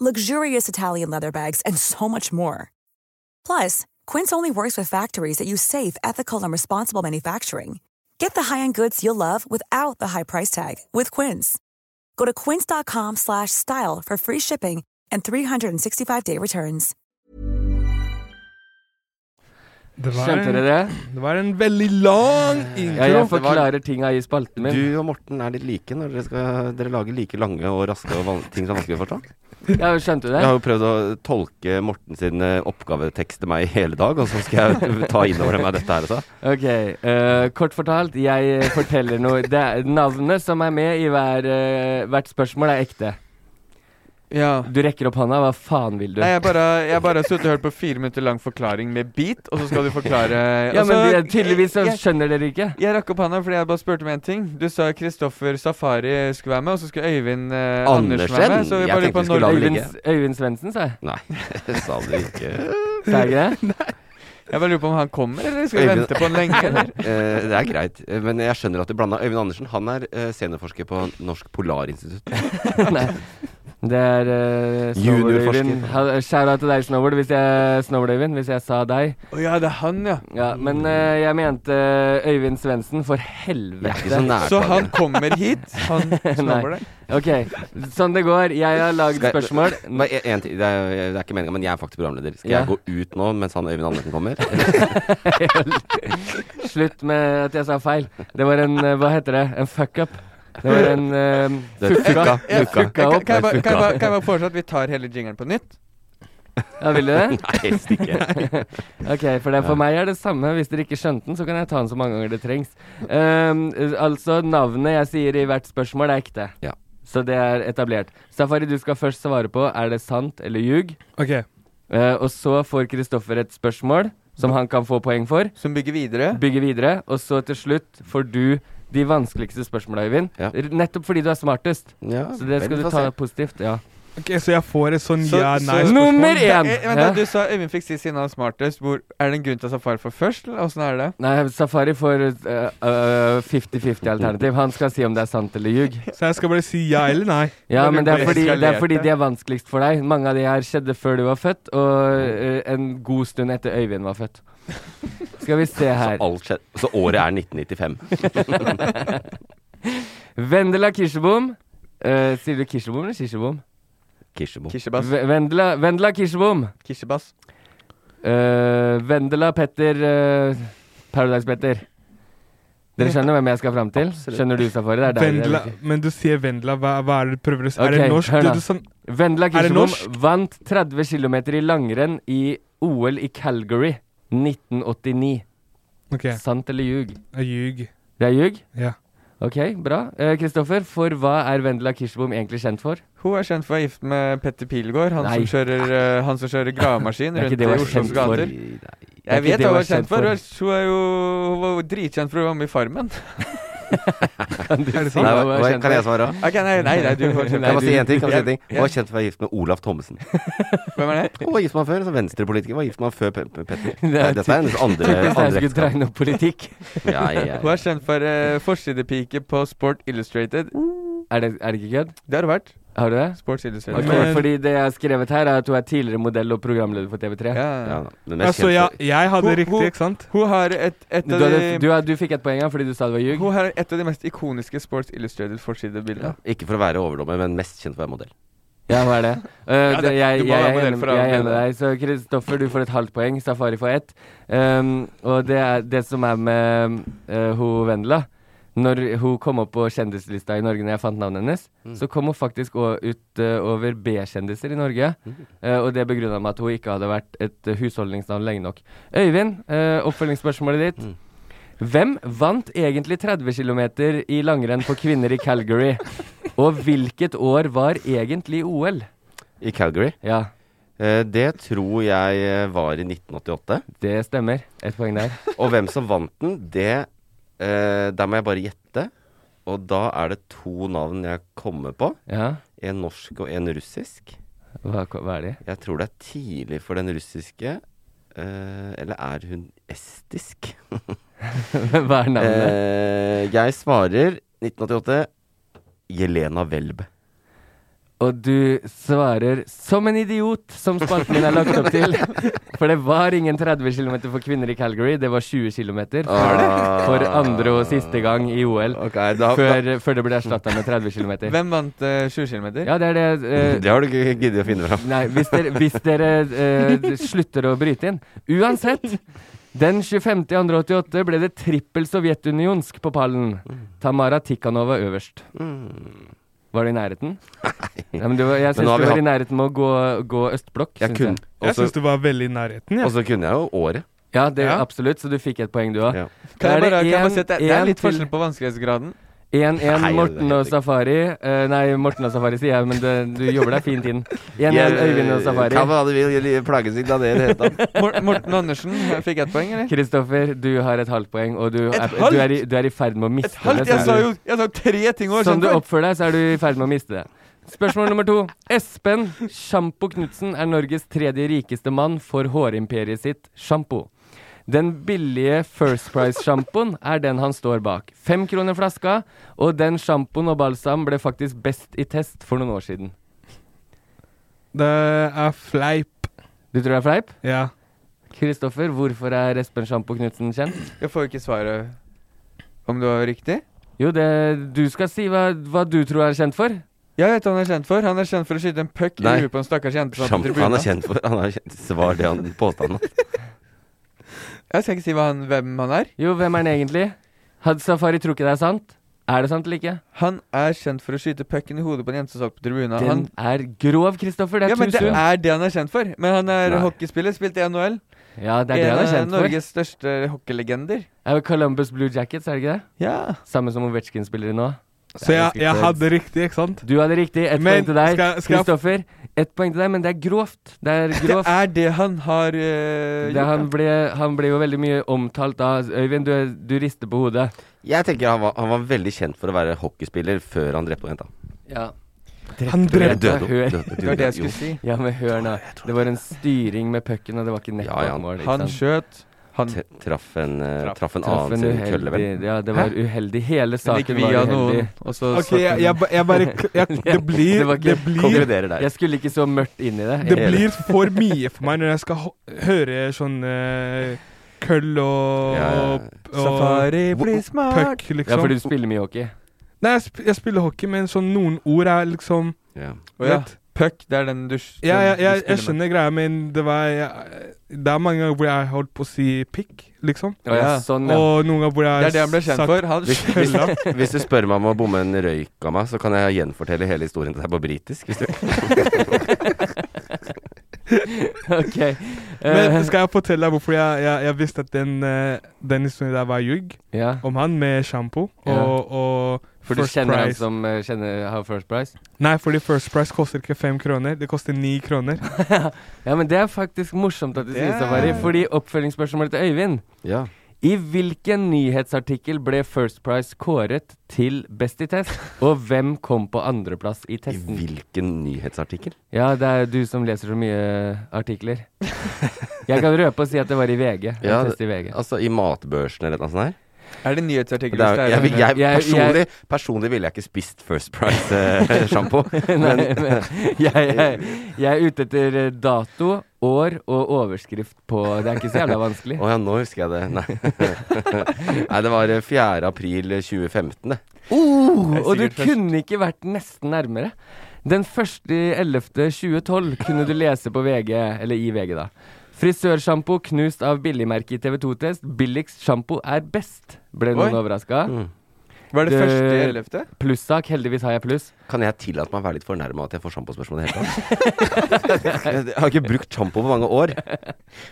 G: luxurious Italian leather bags, and so much more. Plus, Quince only works with factories that use safe, ethical, and responsible manufacturing. Get the high-end goods you'll love without the high price tag with Quince. Go to quince.com/style slash style for free shipping and 365-day returns.
D: Det var,
B: Skjønte dere
D: en,
B: det?
D: det var en veldig lang
B: Ja,
D: intro.
B: jeg
A: det var-
B: forklarer tinga i spalten min.
A: Du og Morten er litt like når dere, skal, dere lager like lange og raske og van ting som er vanskelig å forstå.
B: Ja, skjønte du det?
A: Jeg har jo prøvd å tolke Morten sin eh, oppgavetekst til meg i hele dag, og så skal jeg (laughs) ta innover meg dette her også.
B: Ok, eh, kort fortalt, jeg eh, forteller noe. Det er, navnet som er med i hver, eh, hvert spørsmål, er ekte.
C: Ja.
B: Du rekker opp hånda, hva faen vil du?
C: Nei, jeg bare, jeg bare har suttet og hørt på fire minutter lang forklaring med beat, og så skal du forklare
B: ja, men
C: Altså,
B: de, tydeligvis så
C: jeg,
B: skjønner dere ikke.
C: jeg rakk opp handa fordi jeg bare spurte om én ting. Du sa Kristoffer Safari skulle være med, og så skulle Øyvind eh, Andersen være med.
A: Andersen?
C: Så vi
A: Jeg tenkte
C: bare lurer på
A: vi skulle
C: når
A: la det (laughs)
B: Øyvind,
A: ligge.
B: Øyvind Svendsen, sa jeg.
A: Nei, sa du ikke
B: Sa jeg ikke det?
C: Jeg bare lurer på om han kommer, eller skal vi vente på han lenge?
A: (laughs)
C: Eller?
A: Eh, det er greit, eh, men jeg skjønner at du blanda. Øyvind Andersen han er eh, seniorforsker på Norsk Polarinstitutt.
B: (laughs) Nei. Det er eh, Snowboard
A: Juniorforsker.
B: Øyvind. Ha- Shout-out til deg, Snowboard, hvis jeg, Snowboard Øyvind, hvis jeg sa deg.
C: Å ja, det er han, ja.
B: Men
A: Mm.
B: eh, jeg mente eh, Øyvind Svendsen, for helvete.
A: sånn,
C: Så han kommer hit? Han snowboarder?
B: OK. Sånn det går. Jeg har lagd
A: Skal jeg-
B: spørsmål.
A: Bare en- en ting. Det, er, det er ikke meninga, men jeg er faktisk programleder. Skal
B: Ja.
A: jeg gå ut nå mens han Øyvind Andersen
B: (laughs)
A: kommer?
B: Slutt med at jeg sa feil. Det var en eh, Hva heter det? En fuck-up. Det var en um,
A: Det er
B: fucka.
A: fucka.
C: Ja,
A: Fucka.
C: kan, kan, jeg
B: opp.
C: bare, kan, jeg bare, kan jeg bare foreslå at vi tar hele jingeren på nytt?
B: Ja, vil du det?
A: (laughs) Nei, helst ikke.
B: ok, for det, for meg er det samme. Hvis dere ikke skjønte den, så kan jeg ta den så mange ganger det trengs. Ehm, altså, navnet jeg sier i hvert spørsmål, er ekte.
A: Ja.
B: Så det er etablert. Safari, du skal først svare på er det sant eller ljug.
D: Ok.
B: Eh, og så får Kristoffer et spørsmål som han kan få poeng for.
C: Som bygger videre?
B: Bygge videre. Og så til slutt får du de vanskeligste spørsmåla, Øyvind.
A: Ja.
B: R- Nettopp fordi du er smartest.
A: Ja,
B: så det skal
A: vel,
B: du
A: få
B: ta
A: se.
B: positivt. Ja.
D: Ok, Så jeg får et sånn
C: Så- så-
D: ja-nei-spørsmål?
B: Nummer
C: Det
B: én!
C: er- eh, Vent, da,
B: Ja.
C: du sa Øyvind fikk si siden han er smartest. Hvor, er det en grunn til at Safari får først, eller åssen er det?
B: Nei, Safari får eh, eh, 50-50-alternativ. Han skal si om det er sant eller ljug.
D: Så jeg skal bare si ja eller nei?
B: Ja,
D: Det
B: men det er,
D: blir
B: fordi, det er
D: eskalert,
B: fordi
D: det.
B: de er vanskeligst for deg. Mange av de her skjedde før du var født, og eh, en god stund etter Øyvind var født. Skal vi se
A: Så,
B: her.
A: alt skjer. så året er 1995.
B: Vendela Kirsebom. Eh, sier du Kirsebom eller Kirsebom?
A: Kirsebo.
C: Kirsebas.
B: V- Vendela, Vendela Kirsebom.
C: Kirsebas.
B: Eh, Vendela Petter eh, Paradise-Petter. Dere skjønner hvem jeg skal fram til? Skjønner du, Safari? Det er deg det er
D: Vendela,
B: viktig.
D: men du sier Vendela, hva, hva er det du prøver å si?
B: Ok,
D: er det norsk?
B: hør
D: Du,
B: da.
D: du, sånn,
B: Vendela
D: Er det
B: Kirsebom
D: norsk?
B: vant 30 km i langrenn i OL i Calgary 1989.
D: ok,
B: Sant eller ljug?
D: jeg ljug.
B: Det er ljug?
D: Ja.
B: Ok, bra. Eh, Kristoffer, for hva er Vendela Kirsebom egentlig kjent for?
C: Hun er kjent for å være gift med Petter Pilgaard, han,
B: Nei.
C: som kjører, eh, han som kjører gravemaskin
B: Det er ikke
C: rundt
B: det
C: i
B: hun er
C: Oslos
B: kjent for.
C: gater. Jeg
B: Det er ikke
C: vet
B: det
C: hva hun er kjent for. Hun er jo hun var jo dritkjent for å være med i Farmen.
B: (laughs) Kan du si
A: Nei,
B: hva hun
A: hva-
B: er
A: hva-
B: kjent
A: kan jeg
B: for?
A: svare?
C: Ok, nei, nei, nei, du får
B: (laughs) Nei,
C: kjent
A: Jeg må si
B: du-
A: en ting. Kan jeg si en ting.
C: Ja.
A: Hun var kjent for å være gift med Olaf Thommessen.
C: Hvem er det?
A: Hun var gift med han før, så venstrepolitiker. Var gift med han før Pe- Pe- Petter.
B: er
A: Nei, Dette er hennes andre,
B: Hvis jeg
A: andre
B: skulle
A: ekteskap.
B: dregne opp politikk.
A: Ja, ja, ja.
C: Hun er kjent for eh, forsidepike på Sport Illustrated.
B: (laughs) Er det, er det ikke kødd?
C: Det har hun vært.
B: Har du det?
C: Sports Illustrated.
B: Ok,
D: Men-
B: fordi det jeg har skrevet her, er at hun er tidligere modell og programleder for TV3.
C: Ja.
A: Ja, da. Men mest
D: Altså,
A: kjent
D: jeg,
A: for-
D: jeg hadde
C: Hun-
D: riktig,
C: hun-
D: ikke sant?
C: Hun har et, et,
B: Du,
C: av
B: hadde, du,
C: de,
B: hadde- du fikk ett poeng her fordi du sa det var ljug.
C: hun har et av de mest ikoniske Sports Illustrated-forsidebildene.
A: ja. Ikke for å være overdommer, men mest kjent for å være modell.
B: Ja, hva er
C: (laughs)
B: det? Uh,
C: det-
B: det jeg,
C: du må
B: jeg,
C: være
B: er
C: modell
B: enig-
C: for å
B: jeg er
C: være
B: enig med deg. Så Kristoffer, du får et halvt poeng. Safari får ett. Um, og det er det som er med uh, hun Vendela. Når hun kom opp på kjendislista i Norge, når jeg fant navnet hennes,
C: Mm.
B: så kom hun faktisk å- ut uh, over B-kjendiser i Norge.
C: Mm.
B: Uh, og det begrunna med at hun ikke hadde vært et uh, husholdningsnavn lenge nok. Øyvind, uh, oppfølgingsspørsmålet
C: Mm.
B: ditt. Hvem vant egentlig 30 km i langrenn for kvinner i Calgary?
C: (laughs)
B: Og hvilket år var egentlig OL?
A: I Calgary.
B: Ja,
A: Eh, Det tror jeg eh, var i 1988.
B: det stemmer. Ett poeng der.
A: Og hvem som vant den, det eh, Der må jeg bare gjette. Og da er det to navn jeg kommer på.
B: Ja,
A: En norsk og en russisk.
B: hva, hva er det? (laughs)
A: Jeg tror det er tidlig for den russiske. Eh, eller er hun estisk?
B: Hva er navnet?
A: Eh, jeg svarer 1988 Jelena Welb.
B: Og du svarer 'som en idiot', som spalten din er lagt opp
A: (laughs)
B: til. For det var ingen 30 km for kvinner i Calgary, det var 20 km.
A: Ah.
B: For andre og siste gang i OL. Før, før det ble erstatta med 30 km.
C: Hvem vant eh, 20 km?
B: Ja, det er det eh,
A: Det har du ikke giddet å finne fram.
B: Nei, hvis dere, hvis dere eh, d- slutter å bryte inn. Uansett, den 25.2.88 ble det trippel sovjetunionsk på pallen. Tamara Tikhanova øverst. Var du i nærheten? Nei. men du, var- jeg
A: Mm. Men nå har
B: syns du
A: vi
B: var i
A: hatt-
B: nærheten med å gå, gå østblokk.
A: Jeg
B: syns
A: kunne,
B: jeg.
A: og
D: Jeg
A: så
D: syns du var veldig i nærheten. Ja.
A: og så kunne jeg jo året.
B: Ja, det,
D: Ja.
B: absolutt. Så du fikk et poeng, du òg.
A: Ja.
C: Kan jeg
B: Da er
C: bare, kan jeg bare
B: en-
C: si at det, det er
B: en
C: litt
B: til-
C: forskjell på vanskelighetsgraden.
B: 1-1
A: Nei,
B: Morten
A: det er
B: og
A: helt
B: Safari. Eh, nei, Morten og Safari sier jeg, men det, du jobber deg fint inn. 1-1 Øyvind og Safari.
A: Hva var det vi plage seg av det i det hele tatt?
C: Mor Morten Andersen jeg fikk ett poeng, eller?
B: Kristoffer, du har et halvt poeng, og du, er,
C: halvt?
B: du, er, i, du er i ferd med å miste
C: Et halvt?
B: det.
C: Jeg
B: så
C: sa
B: du-
C: jo jeg sa tre ting over.
B: Som
C: Sånn
B: du oppfører deg, så er du i ferd med å miste det. Spørsmål nummer to. Espen Sjampo Knutsen er Norges tredje rikeste mann for hårimperiet sitt sjampo. Den billige First Price-sjampoen er den han står bak. Fem kroner flaska, og den sjampoen og balsam ble faktisk best i test for noen år siden.
D: Det er fleip.
B: Du tror det er fleip?
D: Ja.
B: Kristoffer, hvorfor er Espen Sjampo Knutsen kjent?
C: Jeg får ikke svaret om det var riktig.
B: Jo, det, du skal si hva, hva du tror er kjent for.
C: Jeg vet hva han er kjent for. Han er kjent for å skyte en puck i
A: Nei.
C: huet på en stakkars jente. som satt på
A: Sjampo han er
C: tribunen.
A: kjent for Han er kjent, Svar det han påstanden.
C: Jeg skal ikke si hva han, hvem han er.
B: Jo, hvem er han egentlig? Hadde Safari tror ikke det er sant? Er det sant eller ikke?
C: Han er kjent for å skyte pucken i hodet på en jente som satt på tribunen.
B: Den
C: Han,
B: er grov, Kristoffer. Det er
C: ja, men det
B: tusen.
C: er det han er kjent for. Men han er
B: Nei.
C: hockeyspiller, spilte i NHL.
B: Ja, det er det han er
C: En av
B: kjent for.
C: Norges største hockeylegender.
B: Er jo Columbus Blue Jackets, er det ikke det?
C: Ja.
B: Samme som Ovetsjkin spiller i nå.
D: Så jeg, jeg hadde riktig, ikke sant?
B: Du hadde riktig. Ett
D: Men
B: poeng til deg,
D: skal- skal jeg-
B: Kristoffer. Ett poeng til deg, men det er grovt. Det er
C: (laughs) Det
B: grovt.
C: er det han har eh,
B: Det, han,
C: gjort.
B: ble, han ble jo veldig mye omtalt av Øyvind, du, du rister på hodet.
A: Jeg tenker han var, han var veldig kjent for å være hockeyspiller før han drepte jenta.
B: Ja.
D: Han drepte-
A: Døde hun.
B: Hør.
A: Døde hun.
C: Det var det
A: Jo.
C: jeg skulle si.
B: Ja, men hør nå. Det var en styring med pucken, og det var ikke
A: Ja, ja.
B: nettmål.
C: Han skjøt. Han
A: T- Traff en, eh,
C: Traff-
A: traff en
B: traff
A: annen
B: en
A: sin kølle, vel.
B: uheldig Ja, det var uheldig. Hele
C: den gikk
B: saken
C: via
B: var uheldig.
C: noen, og så
D: Ok,
C: satt
D: jeg,
C: den-
D: jeg, ba- jeg
C: (laughs)
D: bare jeg, Det blir
B: Det var
D: Det
B: ikke-
D: blir
A: Konkluderer der.
B: Jeg skulle ikke så mørkt inn i det.
D: Det blir for mye for meg når jeg skal ho- høre sånn eh, køll og,
A: Ja, ja.
D: og, og
C: Safari, bli smart.
D: puck,
B: Ja,
D: liksom.
B: fordi du spiller mye hockey.
D: Nei, jeg, sp jeg spiller hockey, men sånn noen ord er liksom
A: Ja.
C: Å ja.
D: Vet.
C: Puck, det er den du s-
D: Ja,
C: den
D: jeg,
C: du
D: jeg, jeg
C: spiller med.
D: skjønner greia, men det var jeg, Det er mange ganger hvor jeg har holdt på å si pikk, liksom.
B: Å ja,
C: Ja.
B: sånn, ja.
D: Og noen ganger hvor jeg
C: Det er det han ble kjent
D: sagt-
C: for.
D: (laughs)
C: Han
A: Hvis, hvis, (laughs) hvis du spør meg om å bomme en røyk av meg, så kan jeg gjenfortelle hele historien til deg på britisk. Hvis du
B: Ok.
D: Men
B: Eh,
D: skal jeg fortelle deg hvorfor jeg, jeg, jeg visste at den, eh, den historien der var ljug
B: ja.
D: om han med sjampo og,
B: Ja.
D: og
B: For du
D: First
B: kjenner han
D: Price.
B: som eh, kjenner, har First Price?
D: Nei, fordi First Price koster ikke fem kroner, det koster ni kroner.
B: ja, men det er faktisk morsomt at du sier
C: Det
B: Safari,
C: er-
B: fordi oppfølgingsspørsmålet til Øyvind
A: ja.
B: I hvilken nyhetsartikkel ble First Price kåret til Best i test, og hvem kom på andreplass i
A: I
B: testen?
A: hvilken nyhetsartikkel?
B: Ja, det er du som leser så mye artikler. Jeg kan røpe og si at det var i VG. En
A: Ja,
B: test i VG.
A: Altså i matbørsen eller noe sånt? her?
C: (laughs) Er sånn det nyhetsartikkel?
A: Det er,
C: hvis
A: jeg, vil-
C: det
A: jeg,
B: Jeg-
A: personlig, personlig ville jeg ikke spist First eh, (laughs) Price-sjampo.
B: Nei, men jeg, (laughs) jeg, jeg er ute etter eh, dato, år og overskrift på Det er ikke så jævla vanskelig.
A: Å ja, nå husker jeg det. Nei, Nei (laughs) det var eh, 4. april 2015, det.
B: Oh, og du
C: sikkert først.
B: kunne ikke vært nesten nærmere. Den 1.11.2012 kunne du lese på VG, eller i VG, da. Frisørsjampo knust av billigmerket i TV2-test. Billigst sjampo er best, ble noen
C: Oi.
B: overraska.
C: Var det
B: Det-
C: første i ellevte?
B: Plussak, heldigvis har jeg pluss.
A: Kan jeg tillate meg å være litt fornærma at jeg får sjampospørsmål i det hele tatt? Jeg har ikke brukt sjampo på mange år,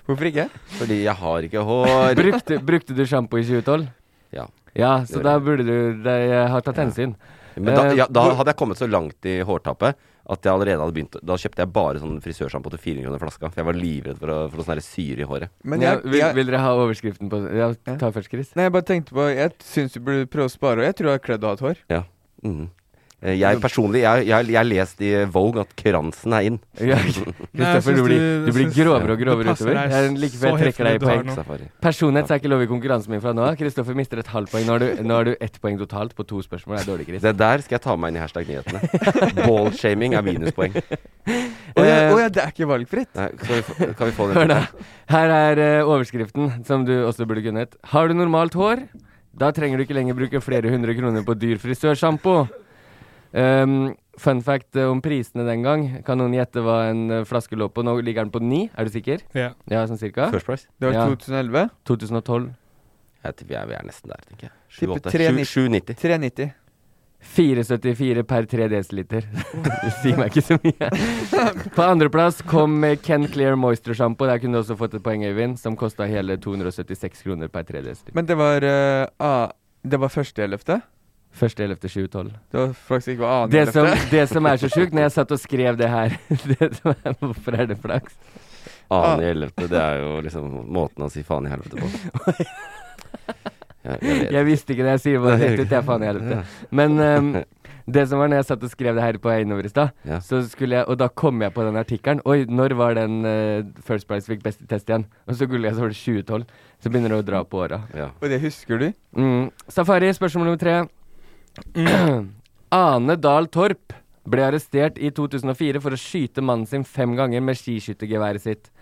C: Hvorfor ikke?
A: fordi jeg har ikke hår.
B: Brukte, brukte du sjampo i 2012?
A: Ja.
B: Ja, så
A: Gjør
B: da burde du det, Jeg har tatt hensyn.
A: Men da,
B: Eh,
A: ja, da
B: hvor-
A: hadde jeg kommet så langt i hårtappet at jeg allerede hadde begynt Da kjøpte jeg bare sånn frisørsjampo til 4 kroner flaska, for jeg var livredd for, å, for noe sånn her syre i håret.
C: Men
B: ja,
C: jeg,
B: vil,
C: jeg,
B: vil dere ha overskriften på Ja, ta først, Chris.
C: nei, jeg bare tenkte på Jeg syns du burde prøve å spare, og jeg tror jeg har kledd å ha et hår.
A: Mhm. Eh, Jeg personlig, jeg, jeg, jeg har lest i Vogue at kransen er inn.
B: Ja,
D: Nei, jeg
B: Kristoffer,
D: syns
B: du blir,
D: du-
B: du blir
D: jeg syns-
B: grovere og
D: det
B: grovere
D: passer
B: utover.
D: deg
B: Jeg like før
D: så
B: jeg trekker deg
D: heftig
B: i
D: du har
B: poeng.
D: nå.
A: Safari.
B: Personlighet er ikke lov i konkurransen min fra nå av. Kristoffer mister et halvt poeng. Nå har du, nå har du ett poeng totalt på to spørsmål. Det er dårlig, Chris.
A: Det der skal jeg ta meg inn i hashtag nyhetene.
B: (laughs)
A: Ballshaming er minuspoeng.
C: Å ja,
B: Eh,
C: å ja, det er ikke valgfritt.
A: Nei, kan vi få, kan vi få den?
B: Hør da. Her er eh, overskriften, som du også burde kunnet. Har du normalt hår? Da trenger du ikke lenger bruke flere hundre kroner på dyr frisørsjampo. Ehm, fun fact eh, om prisene den gang. Kan noen gjette hva en eh, flaske lå på? Nå ligger den på ni, er du sikker?
D: Ja.
B: Ja, sånn cirka?
A: First Price?
C: Det
B: Ja.
C: var 2011.
B: 2012.
A: Jeg tipper jeg, vi er nesten der, tenker jeg.
C: Tipper
A: 7-8.
C: 3,90.
A: 790.
C: 390.
B: 4,74 per 3 (laughs) dl. Det sier meg ikke så mye. På andreplass kom eh, Ken Clear Moisture Shampoo. Der kunne du også fått et poeng, Øyvind, som kosta hele 276 kroner per 3 dl.
C: Men det var eh, ah, Det var første i ellevte?
B: 1.11.2012.
C: Det var faktisk ikke annen i
B: Det, som-
C: ellevte.
B: det som er så sjukt, når jeg satt og skrev det her (laughs) det som er, Hvorfor er det flaks? Ah.
A: Annen i helvete, det er jo liksom måten å si faen i helvete på.
B: (laughs)
A: Ja, jeg vet.
B: Jeg visste ikke det. Jeg sier bare rett ut. Jeg er faen i helvete. Men ehm, Det som var når jeg satt og skrev det her på veien over i stad, så skulle jeg Og da kom jeg på den artikkelen. Oi, når var den eh, First Price fikk best i test igjen? Og så googlet jeg, så var det 2012. Så begynner det å dra på åra.
C: Og det husker du?
B: Mm. Safari, spørsmål nummer tre. (clears throat) Ane Dahl Torp ble arrestert i 2004 for å skyte mannen sin fem ganger med skiskyttergeværet sitt.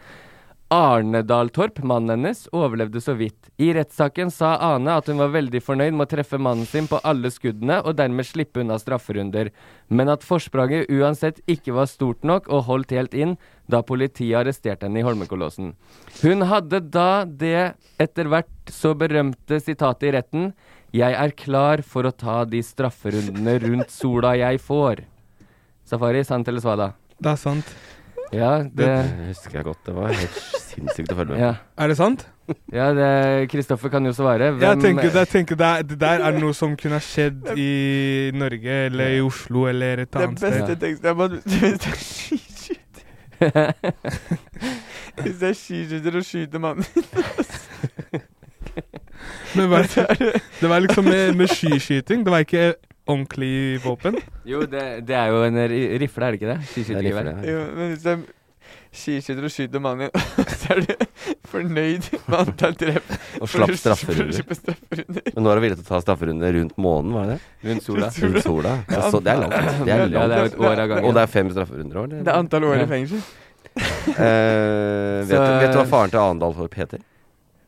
B: Arne Dahl Torp, mannen hennes, overlevde så vidt. I rettssaken sa Ane at hun var veldig fornøyd med å treffe mannen sin på alle skuddene og dermed slippe unna strafferunder, men at forspranget uansett ikke var stort nok og holdt helt inn da politiet arresterte henne i Holmenkollåsen. Hun hadde da det etter hvert så berømte sitatet i retten Jeg er klar for å ta de strafferundene rundt sola jeg får. Safari, sant eller svada?
D: Det er sant.
B: Ja, det
A: husker jeg godt. Det var helt sinnssykt å følge med.
B: ja.
D: Er det sant?
B: Ja, det, Kristoffer kan jo svare.
D: Jeg
B: Hvem-
D: tenker, jeg tenker det, er, det der er noe som kunne ha skjedd i Norge eller i Oslo eller et
C: Den
D: annet sted.
C: beste teksten er bare Skiskyter. (laughs) Hvis det er skiskyter og skyter mannen
D: Men
C: (laughs)
D: hva, det var liksom med, med skiskyting. Det var ikke ordentlig våpen.
B: Jo, det, det er jo en ri- rifle, er det ikke det? Skiskyttergevær.
C: Jo, men hvis det er skiskyter og skyter mannen din, (laughs) så er du fornøyd med antall treff.
A: Og
C: For å
A: slapp strafferunder.
C: slippe strafferunder.
A: Men nå er du villig til å ta strafferunde rundt månen, var det det?
B: Rundt sola.
A: Rundt sola. Ja, så det er langt. Det er, langt.
B: Ja, det er jo et år av gangen.
A: Og det er fem strafferunder òg,
C: Det er antall år i fengsel.
A: Eh, vet,
B: Så-
A: du- vet du hva faren til Arendal Torp heter?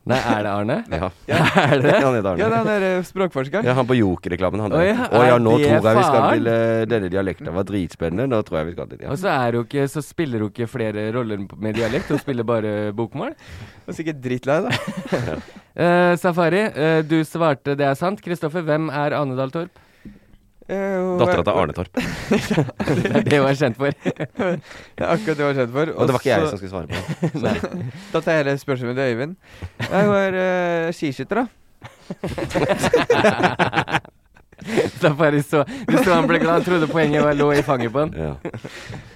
B: Nei, er det Arne?
A: Ja.
B: (laughs) Er det?
A: Han heter Arne.
C: Ja, det er han der eh, språkforskeren.
A: Ja, han på Joker-reklamen, han der.
B: Å ja,
A: Å ja,
B: er
A: nå
B: det
A: tror jeg vi skal
B: faren?
A: til eh, Denne dialekten var dritspennende. Nå tror jeg vi skal til ja.
B: Og så, er det jo ikke, så spiller hun ikke flere roller med dialekt, hun spiller bare bokmål.
C: Og sikkert drittlei, da.
B: (laughs) Eh, Safari, eh, du svarte det er sant. Kristoffer, hvem er Ane Dahl Torp?
C: Eh,
A: Dattera til Arne Torp.
B: (laughs) Det er det hun er kjent for.
C: (laughs) Det er akkurat det hun er kjent for.
A: Og det var ikke jeg
C: så-
A: som skulle svare på det.
B: (laughs)
C: Da tar jeg hele spørsmålet til Øyvind. Nei, hun er eh, skiskytter, da.
B: Safari så Du så han ble glad, han trodde poenget var lå i fanget på han.
A: Ja.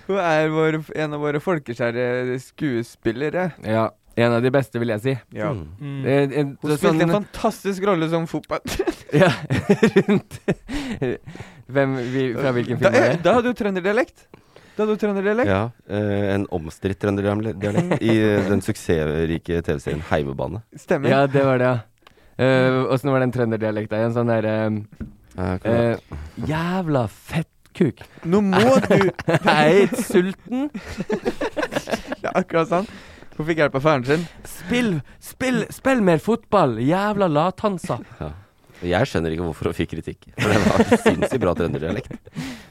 C: Hun er vår, en av våre folkeskjære skuespillere.
B: Ja, en av de beste, vil jeg si.
C: Ja.
D: Mm.
B: Eh, eh,
C: Hun
B: så-
C: spilte en
B: sånn-
C: fantastisk rolle som fotball.
B: Ja, (laughs) rundt Hvem vi, Fra hvilken
C: Da,
B: film er det?
C: da hadde hun trønderdialekt. Da hadde hun trønderdialekt.
A: ja. eh, en omstridt trønderdialekt i eh, den suksessrike TV-serien Heimebane.
C: Stemmer.
B: Ja, det var det, ja. Eh, Åssen var den trønderdialekta igjen? Sånn derre
A: Eh, kan du-
B: eh, Jævla fettkuk.
C: Nå må du
B: Nei, sulten.
C: Det er akkurat sånn. Hun fikk hjelp av faren sin.
B: Spill, spill, spill mer fotball. Jævla lathansa.
A: Jeg skjønner ikke hvorfor hun fikk kritikk. For det var sinnssykt bra trønderdialekt.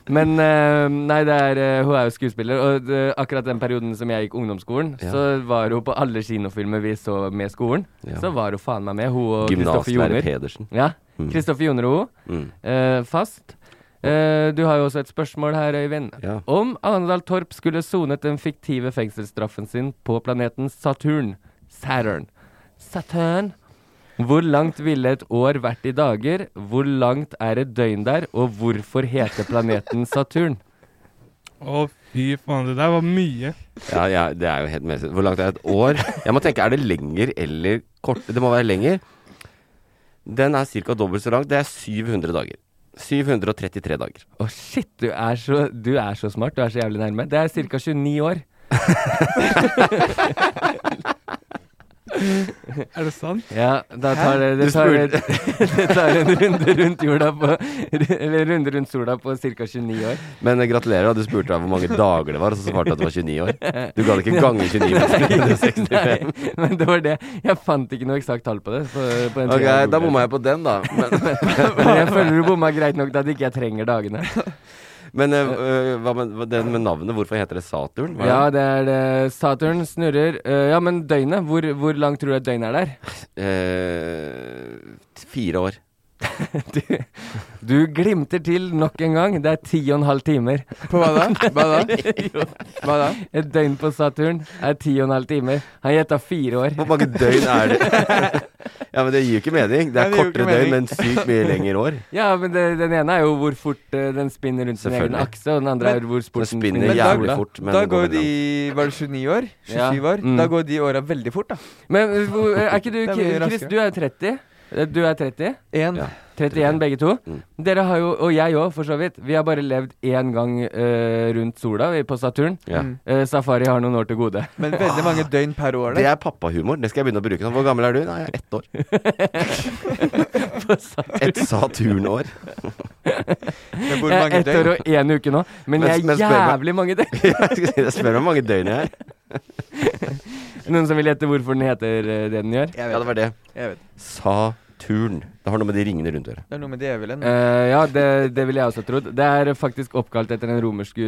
B: Men eh, nei, det er, eh, hun er jo skuespiller, og eh, akkurat den perioden som jeg gikk ungdomsskolen,
A: Ja.
B: så var hun på alle kinofilmer vi så med skolen.
A: Ja.
B: Så var hun faen meg med, hun og Kristoffer
A: Gymnaslærer
B: Joner.
A: Pedersen.
B: Ja,
A: Mm.
B: Kristoffer Joner og hun.
A: Mm.
B: Eh, fast. Eh, du har jo også et spørsmål her, Øyvind.
A: Ja.
B: Om Arendal Torp skulle sonet den fiktive fengselsstraffen sin på planeten Saturn Saturn. Saturn. Hvor langt ville et år vært i dager? Hvor langt er et døgn der? Og hvorfor heter planeten Saturn?
D: Å, fy faen, det der var mye.
A: Ja, ja, det er jo helt meningsløst. Hvor langt er et år? Jeg må tenke, er det lenger eller kort? Det må være lenger. Den er ca. dobbelt så lang. Det er 700 dager. 733 dager.
B: Å, shit, du er, så, du er så smart. Du er så jævlig nærme. Det er ca. 29 år.
D: Er det sant?
B: Ja, da tar det, det, tar, det, det (laughs) tar en runde rundt jorda på Eller en runde rundt sola på ca. 29
C: (laughs)
B: år.
A: Men eh, gratulerer, da. Du spurte deg hvor mange dager det var, og så svarte du at det var 29 år. Du gadd ikke gange 29
B: (laughs)
A: med 365.
B: Nei, men det var det. Jeg fant ikke noe eksakt tall på det. På, på den
A: Ok,
B: tiden jeg
A: da
B: googlet.
A: bomma jeg på den, da. Men,
B: Men jeg føler du bomma greit nok til at ikke jeg trenger dagene.
C: (laughs)
A: men eh, eh, hva med hva- den med navnet? Hvorfor heter det Saturn? Hva er
B: Ja,
A: det?
B: det er det. Saturn snurrer. Eh, ja, men døgnet? Hvor, hvor langt tror du et døgn er der? (laughs)
A: Eh, fire år.
B: Du, du glimter til nok en gang. Det er ti og en halv timer.
C: På hva da? Hva
B: (laughs)
C: da? Hva da?
B: Et døgn på Saturn er ti og en halv timer. Han gjetta fire år.
A: Hvor mange døgn er det? (laughs) ja, men det gir jo ikke mening. Det
C: Nei,
A: er
C: det gir jo ikke
A: kortere døgn,
C: mening.
A: men sykt mye lengre
C: (laughs)
A: år.
B: Ja, men det, den ene er jo hvor fort eh, den spinner rundt sin egen
A: Selvfølgelig.
B: akse, og den andre er hvor
A: Den
B: sporten
A: spinner
C: Men da-
A: jævlig fort. Men
C: Da
A: det
C: går jo
A: veldig
C: de
A: langt.
C: Var det 29 år? 27
B: (laughs) Ja.
C: år?
B: Mm.
C: Da går de åra veldig fort, da.
B: Men eh, hvor- er ikke du
C: (laughs) Det blir
B: Chris,
C: raskere.
B: du er jo 30? Eh, Du er 30?
C: En.
B: 31 begge to.
A: Mm.
B: Dere har jo, og jeg òg for så vidt, vi har bare levd én gang eh, rundt sola vi, på Saturn.
A: Ja. Mm.
B: Eh, Safari har noen år til
C: (laughs)
B: gode.
C: Men veldig mange døgn per år.
A: Det er pappahumor. Det skal jeg begynne å bruke nå. Hvor gammel er du? Nei, jeg er
C: (laughs)
A: ett år. Et Saturn-år. (laughs)
B: Jeg er Eh, ett år og én uke nå, men, jeg er jævlig mange døgn. (laughs)
A: Ja, jeg, skal si, jeg spør meg hvor mange døgn jeg er.
B: Noen som vil gjette hvorfor den heter eh, det den gjør?
A: Ja, det var det.
C: Jeg vet.
A: Saturn. Det har noe med de ringene rundt å gjøre.
C: Det er noe med djevelen.
B: Eh, ja, det, det ville jeg også trodd. Det er faktisk oppkalt etter den romerske,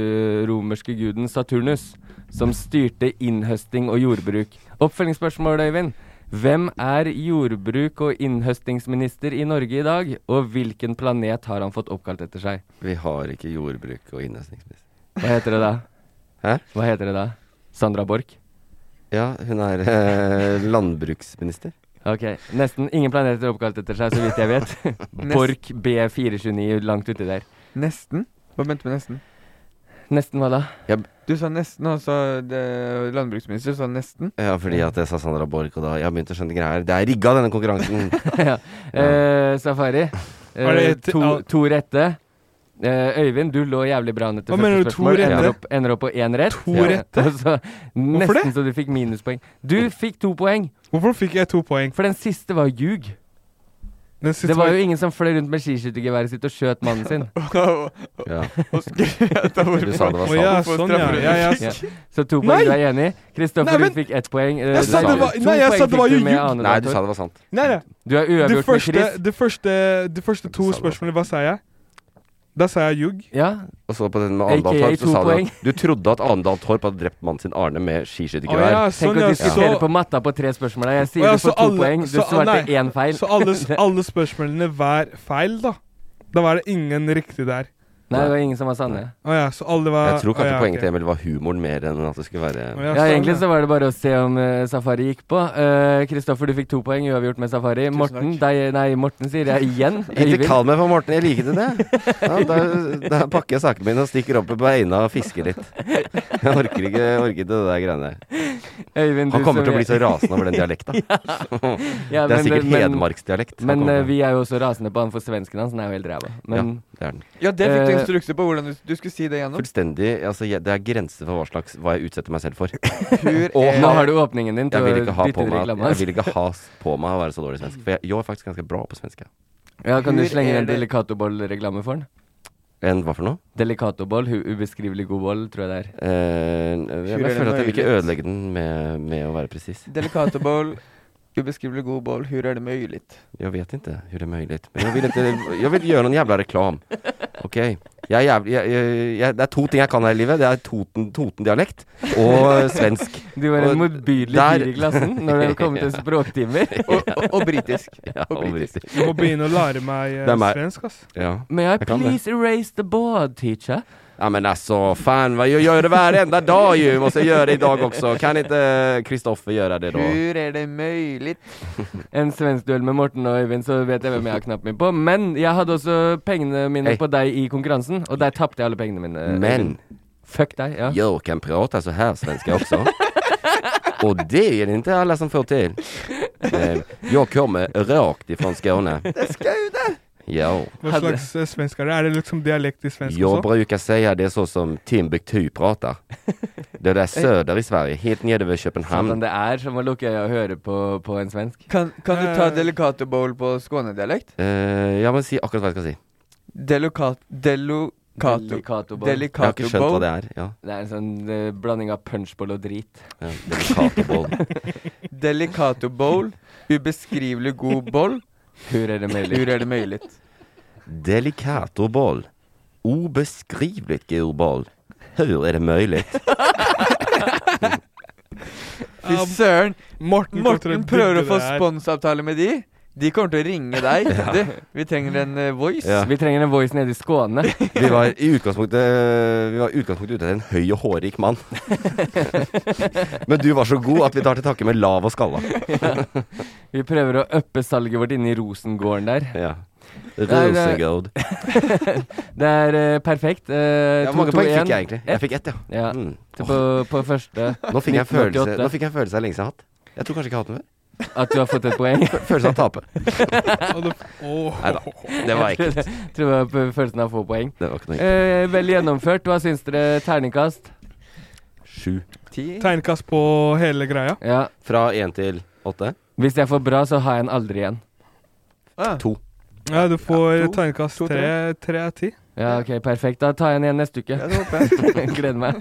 B: romerske guden Saturnus, som styrte innhøsting og jordbruk. Oppfølgingsspørsmål, Øyvind. Hvem er jordbruk- og innhøstingsminister i Norge i dag, og hvilken planet har han fått oppkalt etter seg?
A: Vi har ikke jordbruk og innhøstningsminister.
B: Hva heter det da?
A: Hæ?
B: Hva heter det da? Sandra Borch?
A: Ja, hun er (laughs) eh, landbruksminister.
B: Ok, nesten ingen planeter er oppkalt etter seg, så vidt jeg vet. Borch B429 langt uti der.
C: Nesten? Hva mente du med nesten?
B: Nesten hva da?
C: Du sa nesten, og så det- landbruksminister sa nesten.
A: Ja, fordi at jeg sa Sandra Borch, og da Jeg har begynt å skjønne greier. Det er rigga, denne konkurransen.
B: ja. Eh, Safari,
D: (laughs)
B: eh,
A: Var det et-
B: to,
A: ja.
B: to rette. Eh, Øyvind, du lå jævlig bra an etter
D: Hva mener
B: første
D: du, to
B: spørsmål.
D: rette?
B: Ender opp, ender opp på én rett.
D: To
B: (laughs)
D: rette?
B: Og så,
D: Hvorfor
B: nesten så du fikk minuspoeng. Du fikk to poeng.
D: Hvorfor fikk jeg to poeng?
B: For den siste var ljug.
D: Den siste
B: Det var
D: var-
B: jo ingen som fløy rundt med skiskyttergeværet sitt og skjøt mannen
D: (laughs)
B: sin.
A: Ja.
C: Og skrøt av hvor-
A: Du sa det var
C: Å,
A: sant.
C: ja, sånn, ja. Ja, ja,
B: Ja.
C: sånn.
B: Så to
D: Nei!
B: poeng, du er enig?
D: Nei,
B: Kristoffer,
D: men-
B: du fikk ett poeng. Eh,
D: Jeg sa
B: Daniel,
D: det var-
B: to
D: nei, jeg sa
B: poeng
D: det var
B: fikk
D: jo
B: du med
D: ljug.
B: Ane
D: Nei, du
B: Dator.
D: sa det var sant. Nei, nei.
B: Du er
D: De
B: uavgjort med
D: første,
B: Chris.
D: de første, de første to spørsmålene, hva sa jeg? Da sa jeg ljug.
B: Ja.
A: Og så på den med
D: AKA
A: Arendal Torp,
D: to
A: så sa du
D: poeng.
A: at du trodde at Arendal Torp hadde drept mannen sin Arne med skiskyttergevær.
D: Å ja, sånn,
B: Tenk å
D: ja,
B: diskutere
D: så-
B: på matta på tre spørsmål. Jeg sier
D: Å ja,
B: du får
D: så
B: to
D: alle-
B: poeng, du
D: så-
B: svarte
D: nei,
B: én feil.
D: Så
A: (laughs)
D: alle, s- alle spørsmålene var feil, da? Da var det ingen riktig der.
B: (laughs) Nei, det var ingen som var sanne.
D: Å ja, så alle var
A: Jeg tror kanskje
D: å ja,
A: poenget
D: ok.
A: til Emil var humoren mer enn at det skulle være
D: ja,
C: sånn,
B: Ja, egentlig så var det bare å se om eh, Safari gikk på. Eh, Kristoffer, du fikk to poeng uavgjort med Safari. Morten, deg, nei, Morten sier jeg
A: (laughs)
B: igjen.
A: Ikke
B: Øyvind.
A: kall meg for Morten, jeg liker det. det. Ja, da, da pakker jeg sakene mine og stikker opp på beina og fisker litt. Jeg orker ikke, jeg orker ikke det der greiene der. Han
B: Øyvind, du
A: kommer
B: som
A: til å bli så
B: jeg-
A: rasende over den dialekta.
B: Ja,
A: det er
B: men
A: sikkert
B: men-
A: hedmarksdialekt. han
B: Men
A: kommer
B: eh,
A: til.
B: vi er jo også rasende på han for svensken hans. Han er jo helt ræva. Men
A: ja, det er den.
C: Ja, det fikk du
B: Eh,
C: instrukser på hvordan du, du skulle si det gjennom.
A: Fullstendig altså, jeg, Det er grenser for hva slags Hva jeg utsetter meg
B: (laughs)
A: selv for.
B: Nå har du åpningen din til
A: jeg vil
B: å
A: ikke ha på
B: dytte det i
A: meg,
B: reklamen.
A: Jeg vil ikke ha s- på meg å være så dårlig i svensk. For jeg, jeg er faktisk ganske bra på svensk. jeg.
B: ja, kan du
A: Hvor
B: slenge
A: er
B: en
A: det-
B: Delicatoboll-reklame for han?
A: En hva for noe?
B: Delicatoboll, hu- ubeskrivelig god boll, tror jeg det
A: Eh,
B: er.
A: jeg, jeg
C: Hur er
A: føler
C: det
A: at jeg vil ikke
C: mulig?
A: ødelegge den med, med å være presis.
C: Delikate boll, ubeskrivelig god boll, hur er det mulig?
A: Jag vet inte hur det är möjligt. Men jag vill, inte, jag vill göra någon jävla reklam. Okej. Jeg er jævlig, jeg, jeg, jeg, det er to ting jeg kan her i livet. Det er toten, Toten-dialekt og svensk.
B: Du var
A: Og
B: en motbydelig
A: der-
B: fyr i klassen når det kom
A: (laughs)
B: til
A: Ja.
B: språktimer.
A: Og- og- og britisk. Ja,
D: og
A: britisk.
D: Jeg må begynne å lære meg eh,
A: Det er meg.
D: svensk, ass.
A: Ja.
B: May I
A: Jeg kan det.
B: please erase the board, teacher?
A: Ja men altså, alltså, fan vad jag gör det varenda dag ju! Måste jag göra det idag också. Kan inte Kristoffer göra det då?
C: Hur er det mulig?
B: En svensk duell med Morten og Øyvind, så vet jeg hvem jeg har knapt min på. Men jeg hadde også pengene mine
A: Hei.
B: på deg i konkurransen, og der tapte jeg alle pengene mine.
A: Men
B: Øyvind. Fuck deg, ja.
A: jag kan prata så här svenska också. Och det är det inte alla som får till. Eh, Jag kommer rakt ifrån Skåne.
D: Det
C: skal jo
D: det!
A: Ja.
D: Hva slags eh, svensk er det? Er det liksom dialekt i svensk
A: Jag
D: også?
A: brukar säga det så som Timbuktu pratar. Det där söder i Sverige, helt nere vid
B: Sånn
A: Köpenhamn.
B: det er som å lukke øya og høre på, på en svensk. Eh.
C: Kan, kan du ta delikate boll på skånedialekt?
A: Eh, ja men si akkurat hva jeg skal si.
C: Delokat... Delo...
B: Delicato bowl.
A: Jeg har ikke skjønt hva det er. Ja.
B: Det er en sånn eh, blanding av punchboll og drit.
A: Ja, Delicato bowl.
B: (laughs)
C: Delicato bowl, ubeskrivelig god boll.
B: Hur er det mulig?
C: Hur er det mulig?
A: Delicato boll. Obeskrivligt god boll. Hur är det
B: (laughs)
A: möjligt?
C: Fy søren.
D: Morten, kommer til å
C: Morten prøver å
D: digge
C: få
D: det her.
C: sponsavtale med de. De kommer til å ringe
B: (laughs)
C: (laughs) deg. Du, vi trenger en eh, voice.
A: Ja.
B: Vi trenger en voice nede i
A: (laughs)
B: Skåne.
A: Vi var i utgangspunktet Vi var i utgangspunktet ute etter en høy og hårrik
B: (laughs)
A: mann. Men du var så god at vi tar til takke med lav og skalla.
B: Vi prøver å uppe salget vårt inne i Rosengården der. (laughs)
A: Ja.
B: Nei, det-
A: Rosengård.
B: det er eh, perfekt. Eh,
A: Ja, hvor mange
B: 2-2-1.
A: poeng fikk jeg egentlig? Jeg fikk ett, ja. Mm.
B: Til På, på første.
A: (laughs) Nå fikk jeg en følelse
B: 1988.
A: Nå fikk jeg en følelse jeg lenge siden har hatt. Jeg tror kanskje ikke jeg har hatt den før.
B: at du har fått et
A: (laughs)
B: poeng.
A: Følelsen av å tape.
B: (laughs) Neida,
A: det var ekkelt.
B: Tror det var følelsen av å få poeng.
A: Det var ikke noe
B: eh, vel gjennomført. Hva syns dere? Terningkast?
A: Sju.
D: Tegnekast på hele greia.
B: Ja.
A: Fra én til åtte?
B: Hvis jeg får bra, så har jeg en aldri igjen.
A: To.
D: Ja, du får
B: Ja,
D: ja,
B: to.
D: tegnekast
B: To, tre.
D: tre tre av ti.
B: Ja, ok, perfekt. Da tar jeg en igjen neste uke. (laughs) Gleder meg.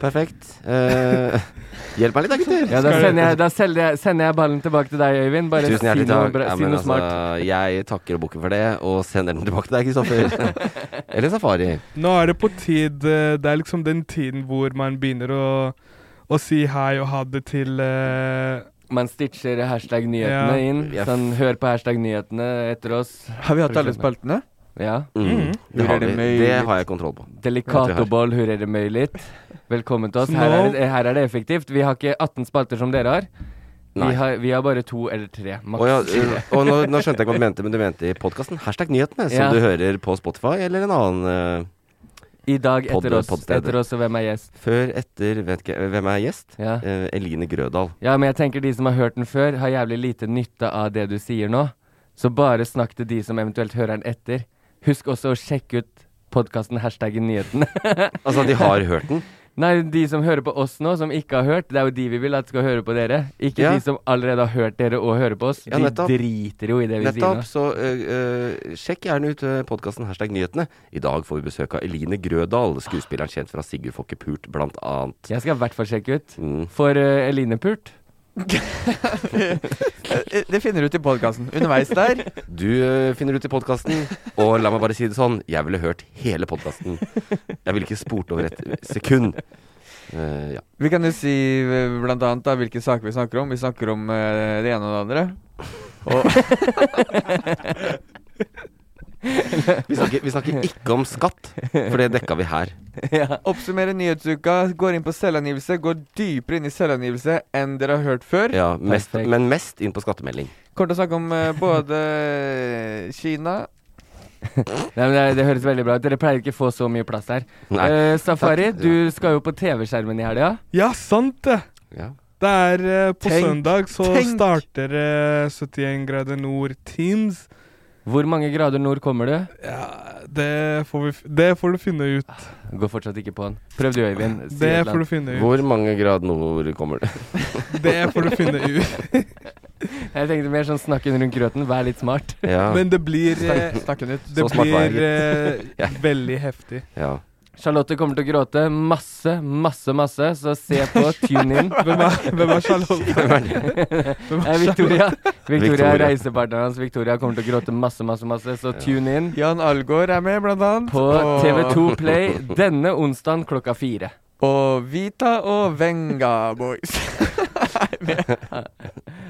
A: Perfekt. Eh, (laughs) hjelp meg litt da, gutter.
B: Ja, da sender jeg, da selger jeg, sender jeg ballen tilbake til deg, Øyvind. Bare
A: Tusen hjertelig
B: si noe,
A: takk.
B: bra,
A: Ja,
B: si
A: men
B: noe smart.
A: altså, jeg takker og bukker for det, og sender den tilbake til deg, Kristoffer. Eller Safari.
D: Nå er det på tid eh, Det er liksom den tiden hvor man begynner å, å si hei og ha det til eh,
B: Man stitcher hashtag nyhetene inn. Sånn, hør på hashtag nyhetene etter oss.
D: Har vi hatt alle
C: spaltene?
B: Ja.
A: Mm, det har vi. Det har jeg kontroll på. At vi har.
B: Delikatoboll, hurrer det møy litt. Velkommen til oss.
A: Så
B: Her
A: nå-
B: er, det, her er det effektivt. Vi har ikke 18 spalter som dere har. Vi
A: Nei.
B: har, vi har bare to eller tre. Maks.
A: Å ja, eh, og nå, nå skjønte jeg ikke hva du mente, men du mente i podkasten hashtag nyhetene, som
B: Ja.
A: du hører på Spotify eller en annen eh,
B: I dag etter oss- etter oss, og hvem er gjest?
A: Før, etter, vet ikke Hvem er gjest?
B: Ja.
A: Eh, Eline Grødal.
B: Ja, men jeg tenker de som har hørt den før, har jævlig lite nytte av det du sier nå. Så bare snakk til de som eventuelt hører den etter. Husk også å sjekke ut podkasten hashtaggen nyhetene. (laughs)
A: Altså, de har hørt den?
B: Nei, de som hører på oss nå, som ikke har hørt. Det er jo de vi vil at skal høre på dere. Ikke
A: Ja.
B: de som allerede har hørt dere og hører på oss.
A: Ja,
B: de
A: nettopp.
B: driter jo i det vi sier
A: Nettopp,
B: nå.
A: så eh, eh, sjekk gjerne ut eh, podkasten hashtag nyhetene. I dag får vi besøk av Eline Grødal, skuespilleren kjent fra Sigurd Fokke Pult, blant annet. Mm.
B: Jeg skal i hvert fall sjekke ut. For eh, Eline Pult.
C: (laughs) Det finner du ut i podkasten. Underveis
B: (laughs)
C: der.
A: Du eh, finner ut i podkasten, og la meg bare si det sånn, jeg ville hørt hele podkasten. Jeg ville ikke spurt over et sekund. Eh, ja.
C: Vi kan jo si eh, blant annet da, hvilke saker vi snakker om. Vi snakker om eh, det ene og det andre. Og
A: Vi snakker, vi snakker ikke om skatt, for det dekka vi her.
B: (laughs)
C: Oppsummere nyhetsuka. Går inn på selvangivelse. Går dypere inn i selvangivelse enn dere har hørt før.
A: Ja, mest, men mest inn på skattemelding.
C: Kommer til å snakke om eh, både eh, Kina
B: (laughs) Nei, men det, det høres veldig bra ut. Dere pleier ikke å få så mye plass her.
D: Nei.
B: Eh, Safari,
D: Takk.
B: du skal jo på TV-skjermen i helga.
D: Ja, sant det!
A: Ja.
D: Det er eh, på
B: Tenk,
D: søndag så
B: tenk.
D: starter eh, 71 grader nord Teams.
B: Hvor mange grader nord kommer du?
D: Det får, vi, f- det får du finne
C: Ah,
D: ut.
B: Går fortsatt ikke på den. Prøv du, Øyvind. Si
D: Det
B: et eller
D: får du
B: annet.
D: finne ut.
A: Hvor mange grad nord kommer det?
D: Det får du finne ut.
B: Jeg tenkte mer sånn snakken rundt grøten. Vær litt smart.
A: Ja.
D: Men det blir eh,
B: Snakk- snakken ut.
D: Det
B: Så smart var jeg,
D: blir eh,
B: gitt. Ja.
D: veldig heftig.
A: Ja.
B: Charlotte kommer til å gråte masse, masse, masse, så se på, tune
D: (laughs)
B: in.
D: Hvem er- hvem er Charlotte? Hvem er det? Hvem er
B: Eh, Victoria. Victoria
D: Victoria.
B: er reisepartneren hans. Victoria kommer til å gråte masse, masse, masse, så tune in.
C: Jan Algaard er med, blant annet.
B: På
C: Og-
B: TV2 Play denne onsdagen klokka fire.
C: Og Vita og Venga
B: (laughs)
C: Boys. er med.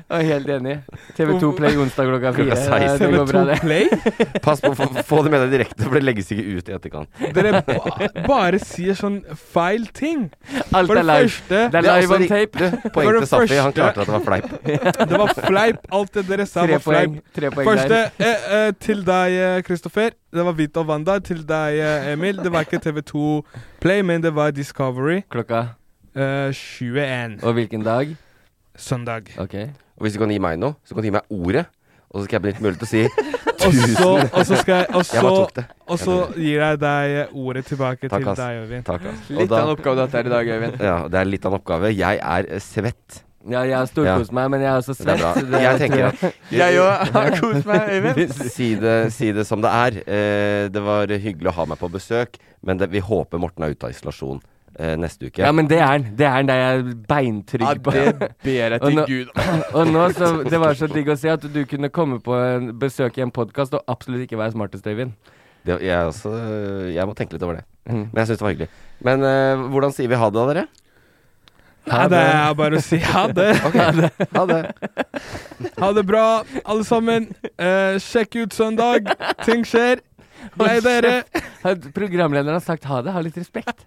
B: Jeg er helt enig. TV2 Play onsdag klokka fire. Det går bra, det.
A: Pass på, få, få det med deg direkte, for det legges ikke ut i etterkant.
B: (laughs)
D: Dere ba bare sier sånn feil ting.
B: Alt
D: For
B: er live.
D: første-
B: Det er Det er live også on ri- tape. du,
D: For
A: poeng
D: det
A: til Safi, han
D: første-
A: klarte at det var fleip.
D: det var fleip. Alt det dere sa,
B: Tre
D: var fleip.
B: poeng- tre poeng
D: første
B: der.
D: eh, eh, til deg, eh, Kristoffer. Det var Vita og Wanda. Til deg, eh, Emil. Det var ikke TV2 Play, men det var Discovery.
B: Klokka?
D: Eh, 21.
B: Og hvilken dag?
D: Søndag.
B: Ok.
A: Og hvis du kan gi meg noe, så kan du gi meg ordet, og så skal jeg benytte mulighet til å
D: Og
A: si tusen.
D: så, og så skal jeg Og
A: Jeg bare tok
D: så,
A: det.
D: og så gir jeg deg ordet tilbake
A: Takk,
D: til
A: ass.
D: deg, Øyvind.
A: Takk, ass. Og
C: Litt
A: da-
C: av en oppgave dette er i dag, Øyvind.
A: Ja, det er litt av en oppgave. Jeg er eh, svett.
B: Ja, jeg har storkost meg, men jeg er også
A: Det er
B: svett.
A: bra.
B: så det-
A: Jeg tenker at
C: Jeg òg har kost meg, Øyvind.
A: (laughs) Si det, si det som det er. Eh, det var hyggelig å ha meg på besøk, men det, vi håper Morten er ute av isolasjon eh, neste uke.
B: Ja, men det er han. Det er han, det er jeg beintrygg
A: Ja,
B: på.
A: det ber jeg
B: Og
A: til
B: nå-
A: Gud.
B: og nå, så, det var så digg å se at du kunne komme på en besøk i en podkast og absolutt ikke være smartest, Øyvind.
A: det, jeg, er også, eh, jeg må tenke litt over det.
B: Mhm.
A: Men jeg syns det var hyggelig. Men eh, hvordan sier vi ha det, da, dere?
D: Ha det er bare å si ha det.
A: Ok, Ha det.
D: Ha det bra, alle sammen. Eh, sjekk ut søndag. Ting skjer. Glei dere.
B: Har- Programlederen har sagt ha det. Ha litt respekt.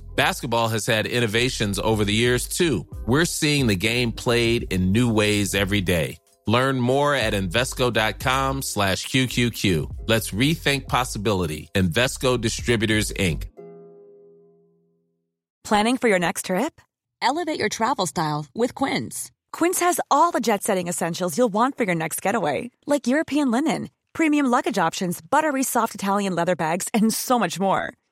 H: Basketball has had innovations over the years, too. We're seeing the game played in new ways every day. Learn more at Invesco.com slash QQQ. Let's rethink possibility. Invesco Distributors, Inc.
G: Planning for your next trip?
I: Elevate your travel style with Quince.
G: Quince has all the jet setting essentials you'll want for your next getaway, like European linen, premium luggage options, buttery soft Italian leather bags, and so much more.